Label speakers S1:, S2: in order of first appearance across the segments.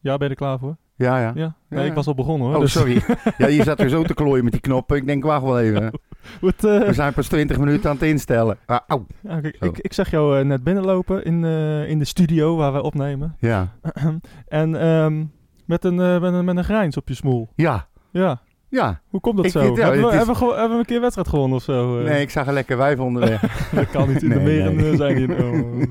S1: Ja, ben je er klaar voor?
S2: Ja, ja.
S1: Ja. Nee,
S2: Ja.
S1: ik was al begonnen hoor.
S2: Oh,
S1: dus-
S2: sorry. Ja, je zat er zo te klooien met die knoppen. Ik denk, wacht wel even.
S1: Wat, eh,
S2: We zijn pas 20 minuten aan het instellen. Ah, au.
S1: ja, kijk,
S2: Zo.
S1: ik, ik zag jou eh, net binnenlopen in, eh, in de studio waar wij opnemen.
S2: Ja.
S1: En ehm, met, een, eh, met, een, met een grijns op je smoel.
S2: Ja.
S1: Ja.
S2: Ja.
S1: Hoe komt dat
S2: Ik
S1: zo?
S2: vind- ja,
S1: hebben, we,
S2: het is-
S1: hebben, we gewo- hebben we een keer wedstrijd gewonnen of zo? eh?
S2: Nee, ik zag een lekker wijf onderweg.
S1: dat kan niet. In de
S2: Nee,
S1: meren
S2: nee.
S1: eh, zijn die. oh.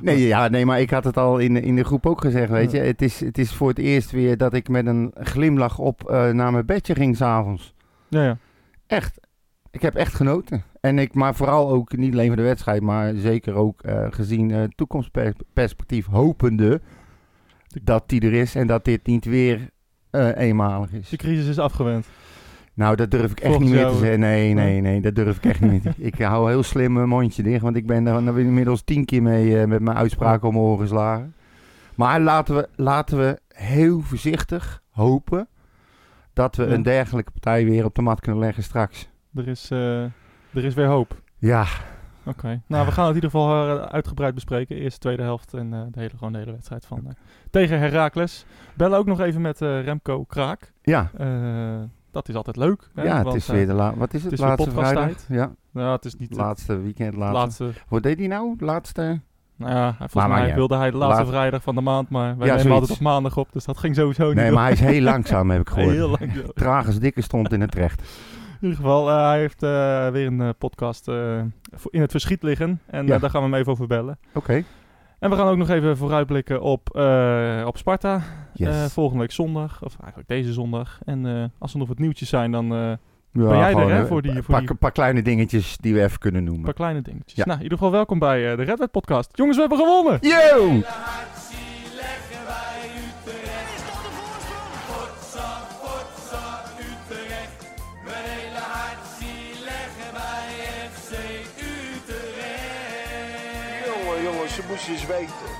S2: Nee, ja, nee, maar ik had het al in, in de groep ook gezegd, weet je. Het is, het is voor het eerst weer dat ik met een glimlach op eh, naar mijn bedje ging s'avonds.
S1: Ja, ja.
S2: Echt. Ik heb echt genoten. En ik, maar vooral ook, niet alleen van de wedstrijd, maar zeker ook eh, gezien eh, toekomstperspectief, hopende dat die er is en dat dit niet weer eh, eenmalig is.
S1: De crisis is afgewend.
S2: Nou, dat durf ik echt
S1: Volgens
S2: niet meer
S1: jou-
S2: te zeggen. Nee,
S1: Nee.
S2: nee, nee, dat durf ik echt niet meer. te- Ik hou heel slim mijn mondje dicht, want ik ben er nou inmiddels tien keer mee eh, met mijn uitspraken om mijn oren geslagen. Maar laten we, laten we heel voorzichtig hopen dat we
S1: Ja.
S2: een dergelijke partij weer op de mat kunnen leggen straks.
S1: Er is, eh, er is weer hoop.
S2: Ja,
S1: Oké. Nou, we gaan het in ieder geval eh, uitgebreid bespreken. Eerst de tweede helft en eh, de hele, gewoon de hele wedstrijd van eh, tegen Heracles. Bellen ook nog even met eh, Remco Kraak.
S2: ja,
S1: Eh, dat is altijd leuk. Hè?
S2: ja, het
S1: want,
S2: is
S1: eh,
S2: weer de la- Wat is het?
S1: het is weer
S2: laatste
S1: podcasttijd.
S2: vrijdag? Ja,
S1: nou, het is niet het
S2: laatste weekend, laatste.
S1: laatste.
S2: Wat deed hij nou? Laatste?
S1: Nou ja, volgens
S2: Maar maakt
S1: mij
S2: niet
S1: wilde hij de laatste
S2: Laat-
S1: vrijdag van de maand, maar wij
S2: Ja,
S1: nemen
S2: zoiets.
S1: altijd op maandag op, dus dat ging sowieso niet.
S2: Nee,
S1: door.
S2: maar hij is heel langzaam, heb ik gehoord.
S1: Heel lang zo.
S2: Traag als dikke stond in het recht.
S1: In ieder geval, eh, hij heeft eh, weer een eh, podcast eh, voor- in het verschiet liggen en
S2: Ja.
S1: eh, daar gaan we hem even over bellen.
S2: Oké.
S1: En we gaan ook nog even vooruitblikken op, eh, op Sparta.
S2: Yes.
S1: Eh, volgende week zondag, of eigenlijk deze zondag. En eh, als er nog wat nieuwtjes zijn, dan eh,
S2: Ja,
S1: Ben jij er,
S2: gewoon,
S1: hè,
S2: eh,
S1: voor die-
S2: Een
S1: voor
S2: paar,
S1: die-
S2: een paar kleine dingetjes die we even kunnen
S1: een
S2: noemen.
S1: paar kleine dingetjes.
S2: Ja.
S1: Nou, in ieder geval welkom bij eh, de Red Wet Podcast. Jongens, we hebben gewonnen!
S2: Yo!
S3: Jongen, jongens, ze moesten eens weten.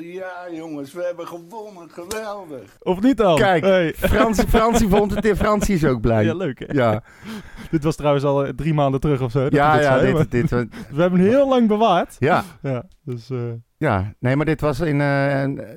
S3: Ja, jongens, we hebben gewonnen. Geweldig.
S1: Of niet dan?
S2: Kijk,
S1: Hey.
S2: Fransie, Fransie vond het in. Fransie is ook blij.
S1: Ja,
S2: Ja,
S1: leuk hè?
S2: ja,
S1: Dit was trouwens al eh, drie maanden terug of zo. dat
S2: ja,
S1: je dit zei, maar
S2: dit, dit, dit-
S1: we hebben hem heel lang bewaard.
S2: ja,
S1: Ja, dus eh,
S2: ja. Nee, maar dit was in... eh, een, eh,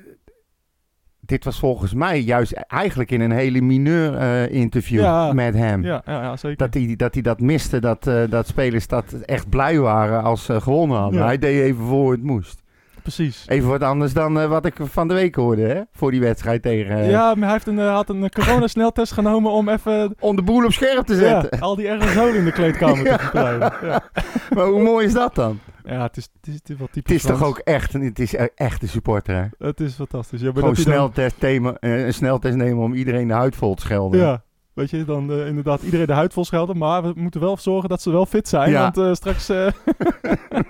S2: dit was volgens mij juist eigenlijk in een hele mineur eh, interview
S1: Ja.
S2: met hem.
S1: ja, ja, ja, zeker.
S2: Hm. Dat hij dat, hij dat miste, dat, eh, dat spelers dat echt blij waren als ze gewonnen hadden.
S1: Ja.
S2: Hij deed even voor het moest.
S1: Precies.
S2: Even wat anders dan eh, wat ik van de week hoorde, hè? Voor die wedstrijd tegen... eh,
S1: Ja, maar hij heeft een, eh, had een eh, coronasneltest genomen om even
S2: Om de boel op scherp te
S1: ja,
S2: zetten.
S1: al die aerosolen in de kleedkamer te verspreiden. Ja,
S2: Maar hoe mooi is dat dan?
S1: ja het, is, het, is, het is wel typisch
S2: Het is toch
S1: Frans.
S2: ook echt, een- het is e- echt een supporter, hè?
S1: Het is fantastisch. Ja, maar
S2: Gewoon
S1: dat hij dan-
S2: sneltest thema, eh, een sneltest nemen om iedereen de huid vol te schelden.
S1: Ja, weet je, dan eh, inderdaad iedereen de huid vol schelden. Maar we moeten wel zorgen dat ze wel fit zijn.
S2: Ja.
S1: Want eh, straks... eh,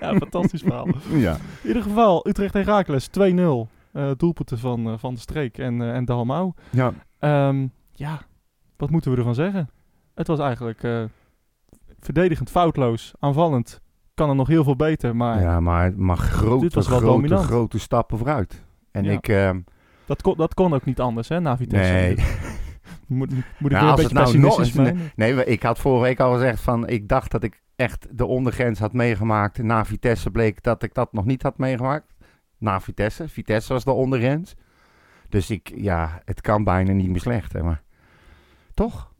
S1: ja, fantastisch verhaal.
S2: Ja.
S1: In ieder geval, Utrecht en Raakles 2-0. Eh, doelpunten van, eh, van de Streek en, eh en Dalmau.
S2: Ja.
S1: Ehm, ja, wat moeten we ervan zeggen? Het was eigenlijk eh, verdedigend foutloos. Aanvallend kan er nog heel veel beter. Maar
S2: ja, maar het mag
S1: Dit
S2: grote,
S1: was wel
S2: grote,
S1: dominant.
S2: grote stappen vooruit. En
S1: Ja.
S2: ik, eh,
S1: dat, kon, dat kon ook niet anders, hè, na Vitesse.
S2: nee,
S1: Dus Moet, moet ik
S2: Ja,
S1: weer een
S2: als
S1: beetje
S2: het nou
S1: pessimistisch
S2: nog-
S1: zijn?
S2: nee, maar ik had vorige week al gezegd van, ik dacht dat ik echt de ondergrens had meegemaakt. Na Vitesse bleek dat ik dat nog niet had meegemaakt. Na Vitesse, Vitesse was de ondergrens. Dus ik, ja, het kan bijna niet meer slechter, maar toch?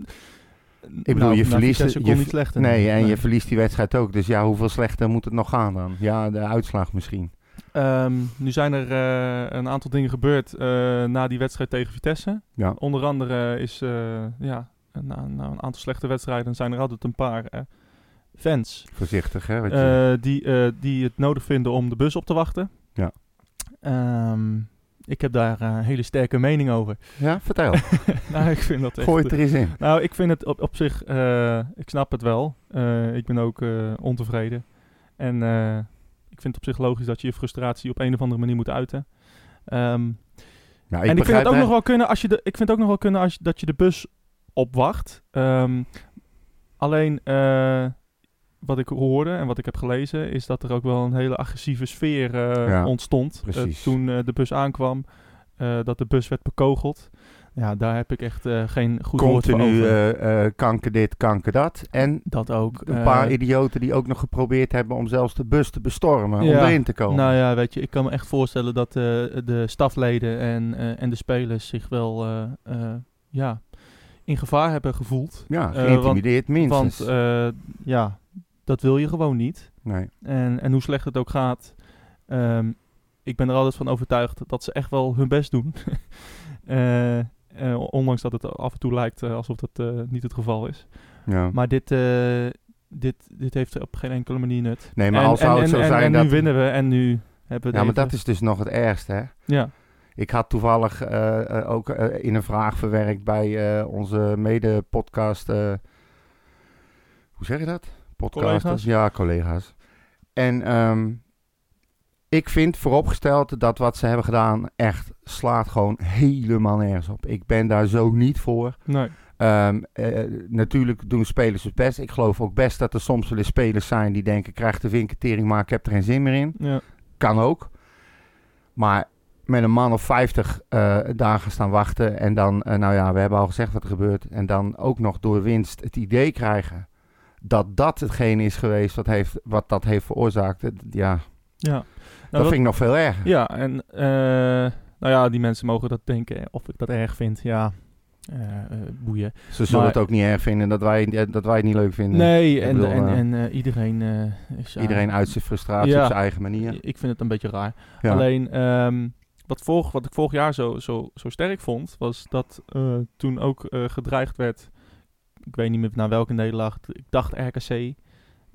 S2: bedoel,
S1: Nou,
S2: je
S1: na
S2: verliest-
S1: Vitesse
S2: je
S1: kon
S2: ver-
S1: niet slechter.
S2: Nee, en je verliest die wedstrijd ook. Dus ja, hoeveel slechter moet het nog gaan dan? Ja, de uitslag misschien.
S1: Ehm, nu zijn er eh, een aantal dingen gebeurd eh, na die wedstrijd tegen Vitesse.
S2: Ja.
S1: Onder andere is, eh, ja, na, na een aantal slechte wedstrijden zijn er altijd een paar eh, fans
S2: Voorzichtig, hè? Wat je-
S1: eh, die, eh, die het nodig vinden om de bus op te wachten.
S2: Ja.
S1: Ehm, ik heb daar eh, een hele sterke mening over.
S2: Ja, vertel.
S1: nou, ik vind dat echt...
S2: Gooi het er eens in.
S1: Nou, ik vind het op, op zich, eh, ik snap het wel. Eh, ik ben ook eh, ontevreden. En eh, ik vind het op zich logisch dat je je frustratie op een of andere manier moet uiten. Ehm,
S2: Nou,
S1: en ik vind
S2: begrijp
S1: het ook
S2: hè-
S1: nog wel kunnen als je de, ik vind het ook nog wel kunnen als je, dat je de bus opwacht. Ehm, alleen eh, wat ik hoorde en wat ik heb gelezen is dat er ook wel een hele agressieve sfeer eh,
S2: Ja,
S1: ontstond eh,
S2: precies.
S1: toen eh, de bus aankwam. eh, dat de bus werd bekogeld. Ja, ja, daar heb ik echt eh, geen goed woord voor
S2: Continu
S1: over.
S2: eh, eh, kanker dit, kanker dat. En
S1: dat ook.
S2: een
S1: eh,
S2: paar idioten die ook nog geprobeerd hebben om zelfs de bus te bestormen. Om
S1: Ja.
S2: erin te komen.
S1: Nou ja, weet je, ik kan me echt voorstellen dat eh, de stafleden en, eh, en de spelers zich wel eh, eh, ja, in gevaar hebben gevoeld.
S2: ja,
S1: eh,
S2: geïntimideerd minstens.
S1: Want eh, ja, dat wil je gewoon niet.
S2: nee.
S1: En, en hoe slecht het ook gaat, ehm, ik ben er altijd van overtuigd dat ze echt wel hun best doen. Eh, eh, ondanks dat het af en toe lijkt eh, alsof dat eh, niet het geval is.
S2: Ja.
S1: Maar dit, eh, dit, dit heeft op geen enkele manier nut.
S2: nee, maar
S1: en,
S2: al zou
S1: en-
S2: het zo
S1: en- en-
S2: zijn
S1: en
S2: dat...
S1: nu winnen we en nu hebben we
S2: ja, maar
S1: even-
S2: dat is dus nog het ergste, hè.
S1: Ja.
S2: Ik had toevallig eh, eh, ook eh, in een vraag verwerkt bij eh, onze mede-podcast. eh, hoe zeg je dat? Podcasters?
S1: Collega's?
S2: Ja, collega's. En ehm, ik vind vooropgesteld dat wat ze hebben gedaan echt slaat gewoon helemaal nergens op. Ik ben daar zo niet voor.
S1: Nee.
S2: Ehm, eh, natuurlijk doen spelers het best. Ik geloof ook best dat er soms wel eens spelers zijn die denken... krijg de vinketering, maar ik heb er geen zin meer in.
S1: Ja.
S2: Kan ook. Maar met een man of 50 eh, dagen staan wachten. En dan, eh, nou ja, we hebben al gezegd wat er gebeurt. En dan ook nog door winst het idee krijgen dat dat hetgene is geweest wat, heeft, wat dat heeft veroorzaakt. Het- Ja,
S1: Ja. Nou,
S2: dat
S1: dat-
S2: vind ik nog veel erger.
S1: ja, en eh, nou ja, die mensen mogen dat denken. eh, Of ik dat erg vind, ja. Eh, eh, boeien.
S2: Ze zullen
S1: maar-
S2: het ook niet erg vinden dat wij, eh, dat wij het niet leuk vinden.
S1: Nee,
S2: ik
S1: en,
S2: bedoel,
S1: en,
S2: eh,
S1: en eh, iedereen eh, is... ja,
S2: Iedereen uit zijn frustratie
S1: Ja.
S2: op zijn eigen manier.
S1: Ik vind het een beetje raar.
S2: Ja.
S1: Alleen, ehm, wat, vorig, wat ik vorig jaar zo, zo, zo sterk vond, was dat eh, toen ook eh, gedreigd werd. Ik weet niet meer naar welke nederlaag. Ik dacht RKC. eh,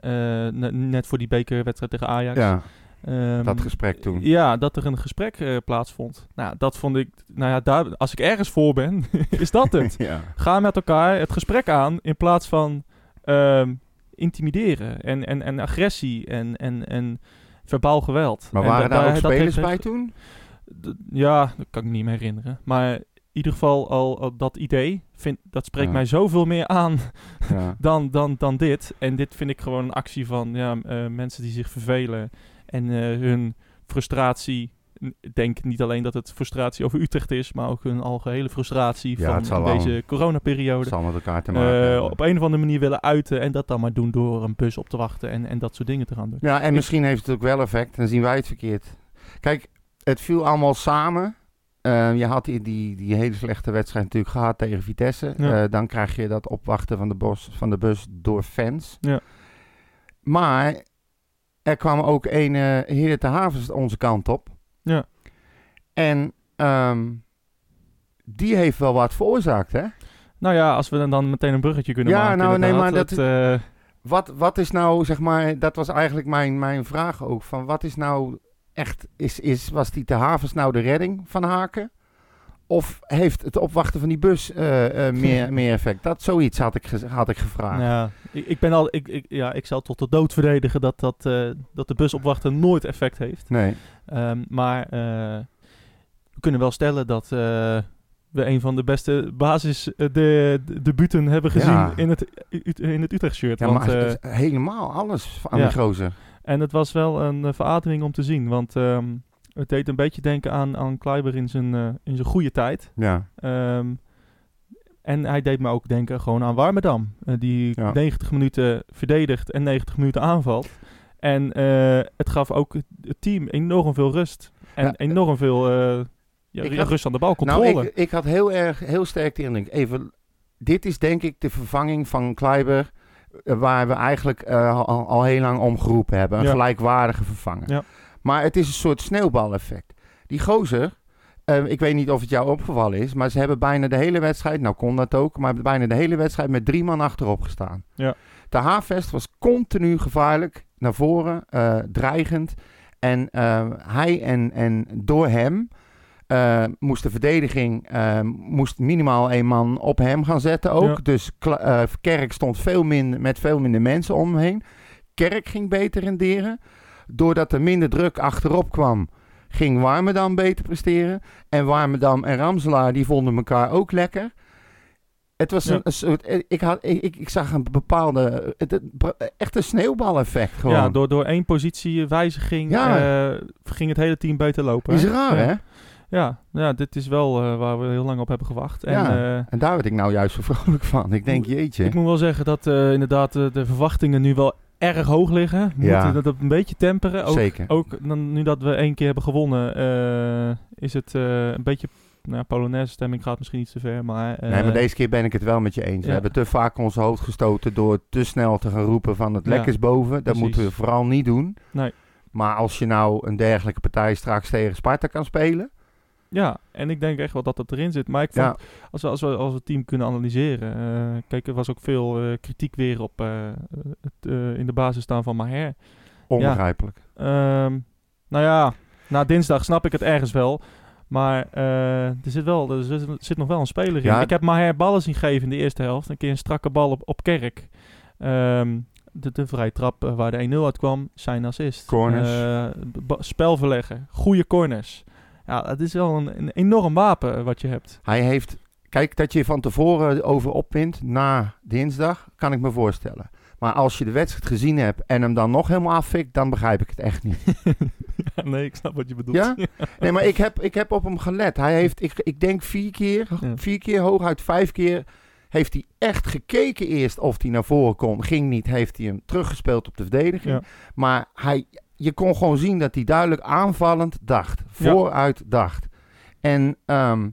S1: ne- net voor die bekerwedstrijd tegen Ajax.
S2: ja,
S1: Ehm,
S2: dat gesprek toen.
S1: Ja, dat er een gesprek eh, plaatsvond. Nou, dat vond ik. Nou ja, daar, als ik ergens voor ben, is dat het.
S2: Ja.
S1: Ga met elkaar het gesprek aan in plaats van ehm, intimideren en, en, en agressie en, en, en verbaal geweld.
S2: Maar
S1: En
S2: waren
S1: dat-
S2: daar ook
S1: dat heeft-
S2: spelers bij toen?
S1: d- Ja, dat kan ik me niet meer herinneren. Maar in ieder geval al, al dat idee, vind, dat spreekt
S2: Ja.
S1: mij zoveel meer aan
S2: Ja.
S1: dan, dan, dan dit. En dit vind ik gewoon een actie van ja, eh, mensen die zich vervelen en eh, hun frustratie. Ik denk niet alleen dat het frustratie over Utrecht is, maar ook hun algehele frustratie
S2: Ja, het zal
S1: van
S2: wel.
S1: deze coronaperiode.
S2: Het zal met elkaar te
S1: eh,
S2: maken hebben.
S1: op een of andere manier willen uiten en dat dan maar doen door een bus op te wachten en, en dat soort dingen te gaan doen.
S2: Ja, en misschien heeft het ook wel effect. Dan zien wij het verkeerd. Kijk, het viel allemaal samen. Eh, je had die, die, die hele slechte wedstrijd natuurlijk gehad tegen Vitesse.
S1: Ja.
S2: Eh, dan krijg je dat opwachten van de, bos, van de bus door fans.
S1: Ja.
S2: Maar er kwam ook een uh, Heer de Havens onze kant op.
S1: Ja.
S2: En ehm, die heeft wel wat veroorzaakt, hè?
S1: Nou ja, als we dan, dan meteen een bruggetje kunnen
S2: Ja,
S1: maken.
S2: nou, nee,
S1: inderdaad,
S2: maar dat
S1: het, eh,
S2: Wat, wat is nou, zeg maar, dat was eigenlijk mijn, mijn vraag ook. Van wat is nou echt, is, is, was die te havens nou de redding van Haken? Of heeft het opwachten van die bus eh, eh, meer, meer effect? Dat zoiets had ik, gez- had ik gevraagd.
S1: Ja, ik, ik ben al, ik, ik, ja, ik zal tot de dood verdedigen dat, dat, eh, dat de bus opwachten nooit effect heeft.
S2: Nee,
S1: Ehm, maar eh, we kunnen wel stellen dat eh, we een van de beste basis eh, de, de debuten hebben gezien
S2: Ja.
S1: in het, U- U- in het Utrecht shirt.
S2: ja,
S1: want,
S2: maar
S1: eh,
S2: het is helemaal alles aan
S1: ja.
S2: die gozer.
S1: en het was wel een eh, verademing om te zien, want ehm, het deed een beetje denken aan, aan Kleiber in zijn, eh, in zijn goede tijd.
S2: Ja,
S1: Ehm, en hij deed me ook denken gewoon aan Warmerdam. eh, die
S2: Ja.
S1: 90 minuten verdedigt en 90 minuten aanvalt. En eh, het gaf ook het- het team enorm veel rust. En
S2: Ja, eh,
S1: enorm veel eh, ja,
S2: ik
S1: ja,
S2: had-
S1: rust aan de bal, controle.
S2: nou, ik, ik had heel erg, heel sterk de indruk. Even, dit is denk ik de vervanging van Kleiber, eh, waar we eigenlijk eh, al, al heel lang om geroepen hebben. Een
S1: Ja.
S2: gelijkwaardige vervanger.
S1: Ja.
S2: Maar het is een soort sneeuwbaleffect. Die gozer, eh, ik weet niet of het jou opgevallen is, maar ze hebben bijna de hele wedstrijd, nou kon dat ook, maar bijna de hele wedstrijd met drie man achterop gestaan.
S1: Ja.
S2: De Haarvest was continu gevaarlijk, naar voren, eh, dreigend. En eh, hij en, en door hem eh, moest de verdediging eh, moest minimaal één man op hem gaan zetten ook.
S1: Ja.
S2: Dus Kla- eh, Kerk stond veel minder, met veel minder mensen om hem heen. Kerk ging beter renderen. Doordat er minder druk achterop kwam, ging Warmerdam beter presteren. En Warmerdam en Ramselaar die vonden elkaar ook lekker. Het was
S1: Ja.
S2: een, een soort. eh, Ik, had, ik, ik- ik zag een bepaalde. Het, het- echt een sneeuwbaleffect gewoon.
S1: ja, door, door één positiewijziging
S2: Ja.
S1: eh, ging het hele team beter lopen.
S2: is
S1: hè?
S2: raar,
S1: Ja.
S2: hè?
S1: Ja, ja dit is wel eh, waar we heel lang op hebben gewacht. En,
S2: Ja.
S1: eh,
S2: En daar werd ik nou juist zo vrolijk van. Ik denk, jeetje.
S1: Ik moet wel zeggen dat eh, inderdaad eh, de verwachtingen nu wel erg hoog liggen. We
S2: Ja.
S1: moeten dat een beetje temperen. Ook,
S2: Zeker.
S1: ook dan, nu dat we één keer hebben gewonnen, eh, is het eh, een beetje... Nou, Polonaise stemming gaat misschien iets te ver, maar... eh,
S2: nee, maar deze keer ben ik het wel met je eens. We
S1: ja.
S2: hebben te vaak ons hoofd gestoten door te snel te gaan roepen van het
S1: Ja,
S2: lek is boven. Dat
S1: precies.
S2: moeten we vooral niet doen.
S1: Nee.
S2: Maar als je nou een dergelijke partij straks tegen Sparta kan spelen.
S1: Ja, en ik denk echt wel dat dat erin zit. Maar ik vond,
S2: Ja,
S1: als, we, als, we, als we het team kunnen analyseren... eh, kijk, er was ook veel eh, kritiek weer op eh, het eh, in de basis staan van Maher.
S2: onbegrijpelijk.
S1: Ehm, nou ja, na dinsdag snap ik het ergens wel. Maar eh, er, zit wel, er zit, er zit nog wel een speler in.
S2: Ja.
S1: Ik heb Maher ballen zien geven in de eerste helft. Een keer een strakke bal op, op Kerk. Ehm, de, de vrije trap eh, waar de 1-0 uit kwam, zijn assist.
S2: Corners.
S1: Eh, ba- spel verleggen, goede corners. Ja, dat is wel een, een enorm wapen eh, wat je hebt.
S2: Hij heeft... Kijk, dat je van tevoren over opwint na dinsdag, kan ik me voorstellen. Maar als je de wedstrijd gezien hebt en hem dan nog helemaal afvikt, dan begrijp ik het echt niet.
S1: nee, ik snap wat je bedoelt.
S2: Ja? Nee, maar ik heb, ik heb op hem gelet. Hij heeft, ik, ik denk vier keer,
S1: Ja.
S2: vier keer hooguit vijf keer, heeft hij echt gekeken eerst of hij naar voren kon. Ging niet, heeft hij hem teruggespeeld op de verdediging.
S1: Ja.
S2: Maar hij, je kon gewoon zien dat hij duidelijk aanvallend dacht.
S1: Ja.
S2: Vooruit dacht. En ehm,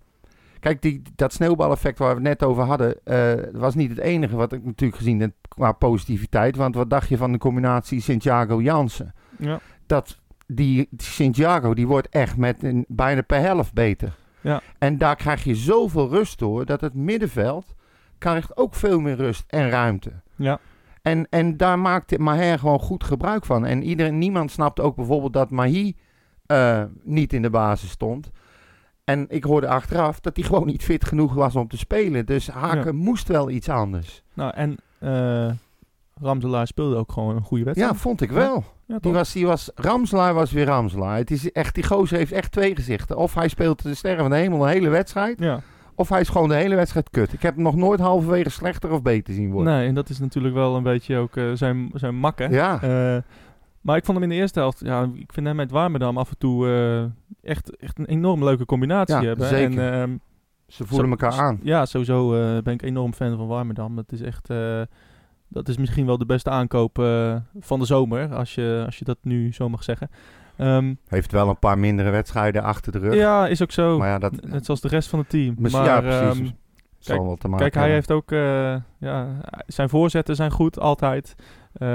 S2: kijk, die, dat sneeuwbaleffect waar we het net over hadden, eh, was niet het enige wat ik natuurlijk gezien heb qua positiviteit. Want wat dacht je van de combinatie Santiago-Jansen?
S1: Ja.
S2: dat die Santiago, die wordt echt met een, bijna per helft beter.
S1: Ja.
S2: En daar krijg je zoveel rust door dat het middenveld krijgt ook veel meer rust en ruimte.
S1: Ja.
S2: En, en daar maakt Maher gewoon goed gebruik van. En iedereen, niemand snapt ook bijvoorbeeld dat Mahi eh, niet in de basis stond. En ik hoorde achteraf dat hij gewoon niet fit genoeg was om te spelen. Dus Haken moest wel iets anders.
S1: Nou, en eh Ramselaar speelde ook gewoon een goede wedstrijd.
S2: Ja, vond ik wel.
S1: Ja, toch?
S2: Die was, die was, Ramslaar was weer Ramslaar. Het is echt, die gozer heeft echt twee gezichten. Of hij speelt de sterren van de hemel de hele wedstrijd.
S1: ja.
S2: Of hij is gewoon de hele wedstrijd kut. Ik heb hem nog nooit halverwege slechter of beter zien worden.
S1: Nee, en dat is natuurlijk wel een beetje ook eh, zijn, zijn makken.
S2: Ja,
S1: Eh, maar ik vond hem in de eerste helft, ja, ik vind hem met Warmerdam af en toe eh, echt, echt een enorm leuke combinatie
S2: Ja,
S1: hebben.
S2: zeker.
S1: En, ehm,
S2: ze voelen
S1: zo-
S2: elkaar aan.
S1: Ja, sowieso eh, ben ik enorm fan van Warmerdam. Dat is echt, eh, dat is misschien wel de beste aankoop eh, van de zomer, als je, als je dat nu zo mag zeggen. Ehm,
S2: Heeft wel een paar mindere wedstrijden achter de rug.
S1: ja, is ook zo.
S2: Maar ja, dat
S1: Net zoals de rest van het team.
S2: mis-
S1: maar,
S2: ja, precies.
S1: ehm,
S2: zal wel te maken
S1: Kijk, hij
S2: hebben.
S1: heeft ook... eh, ja, zijn voorzetten zijn goed, altijd. Eh,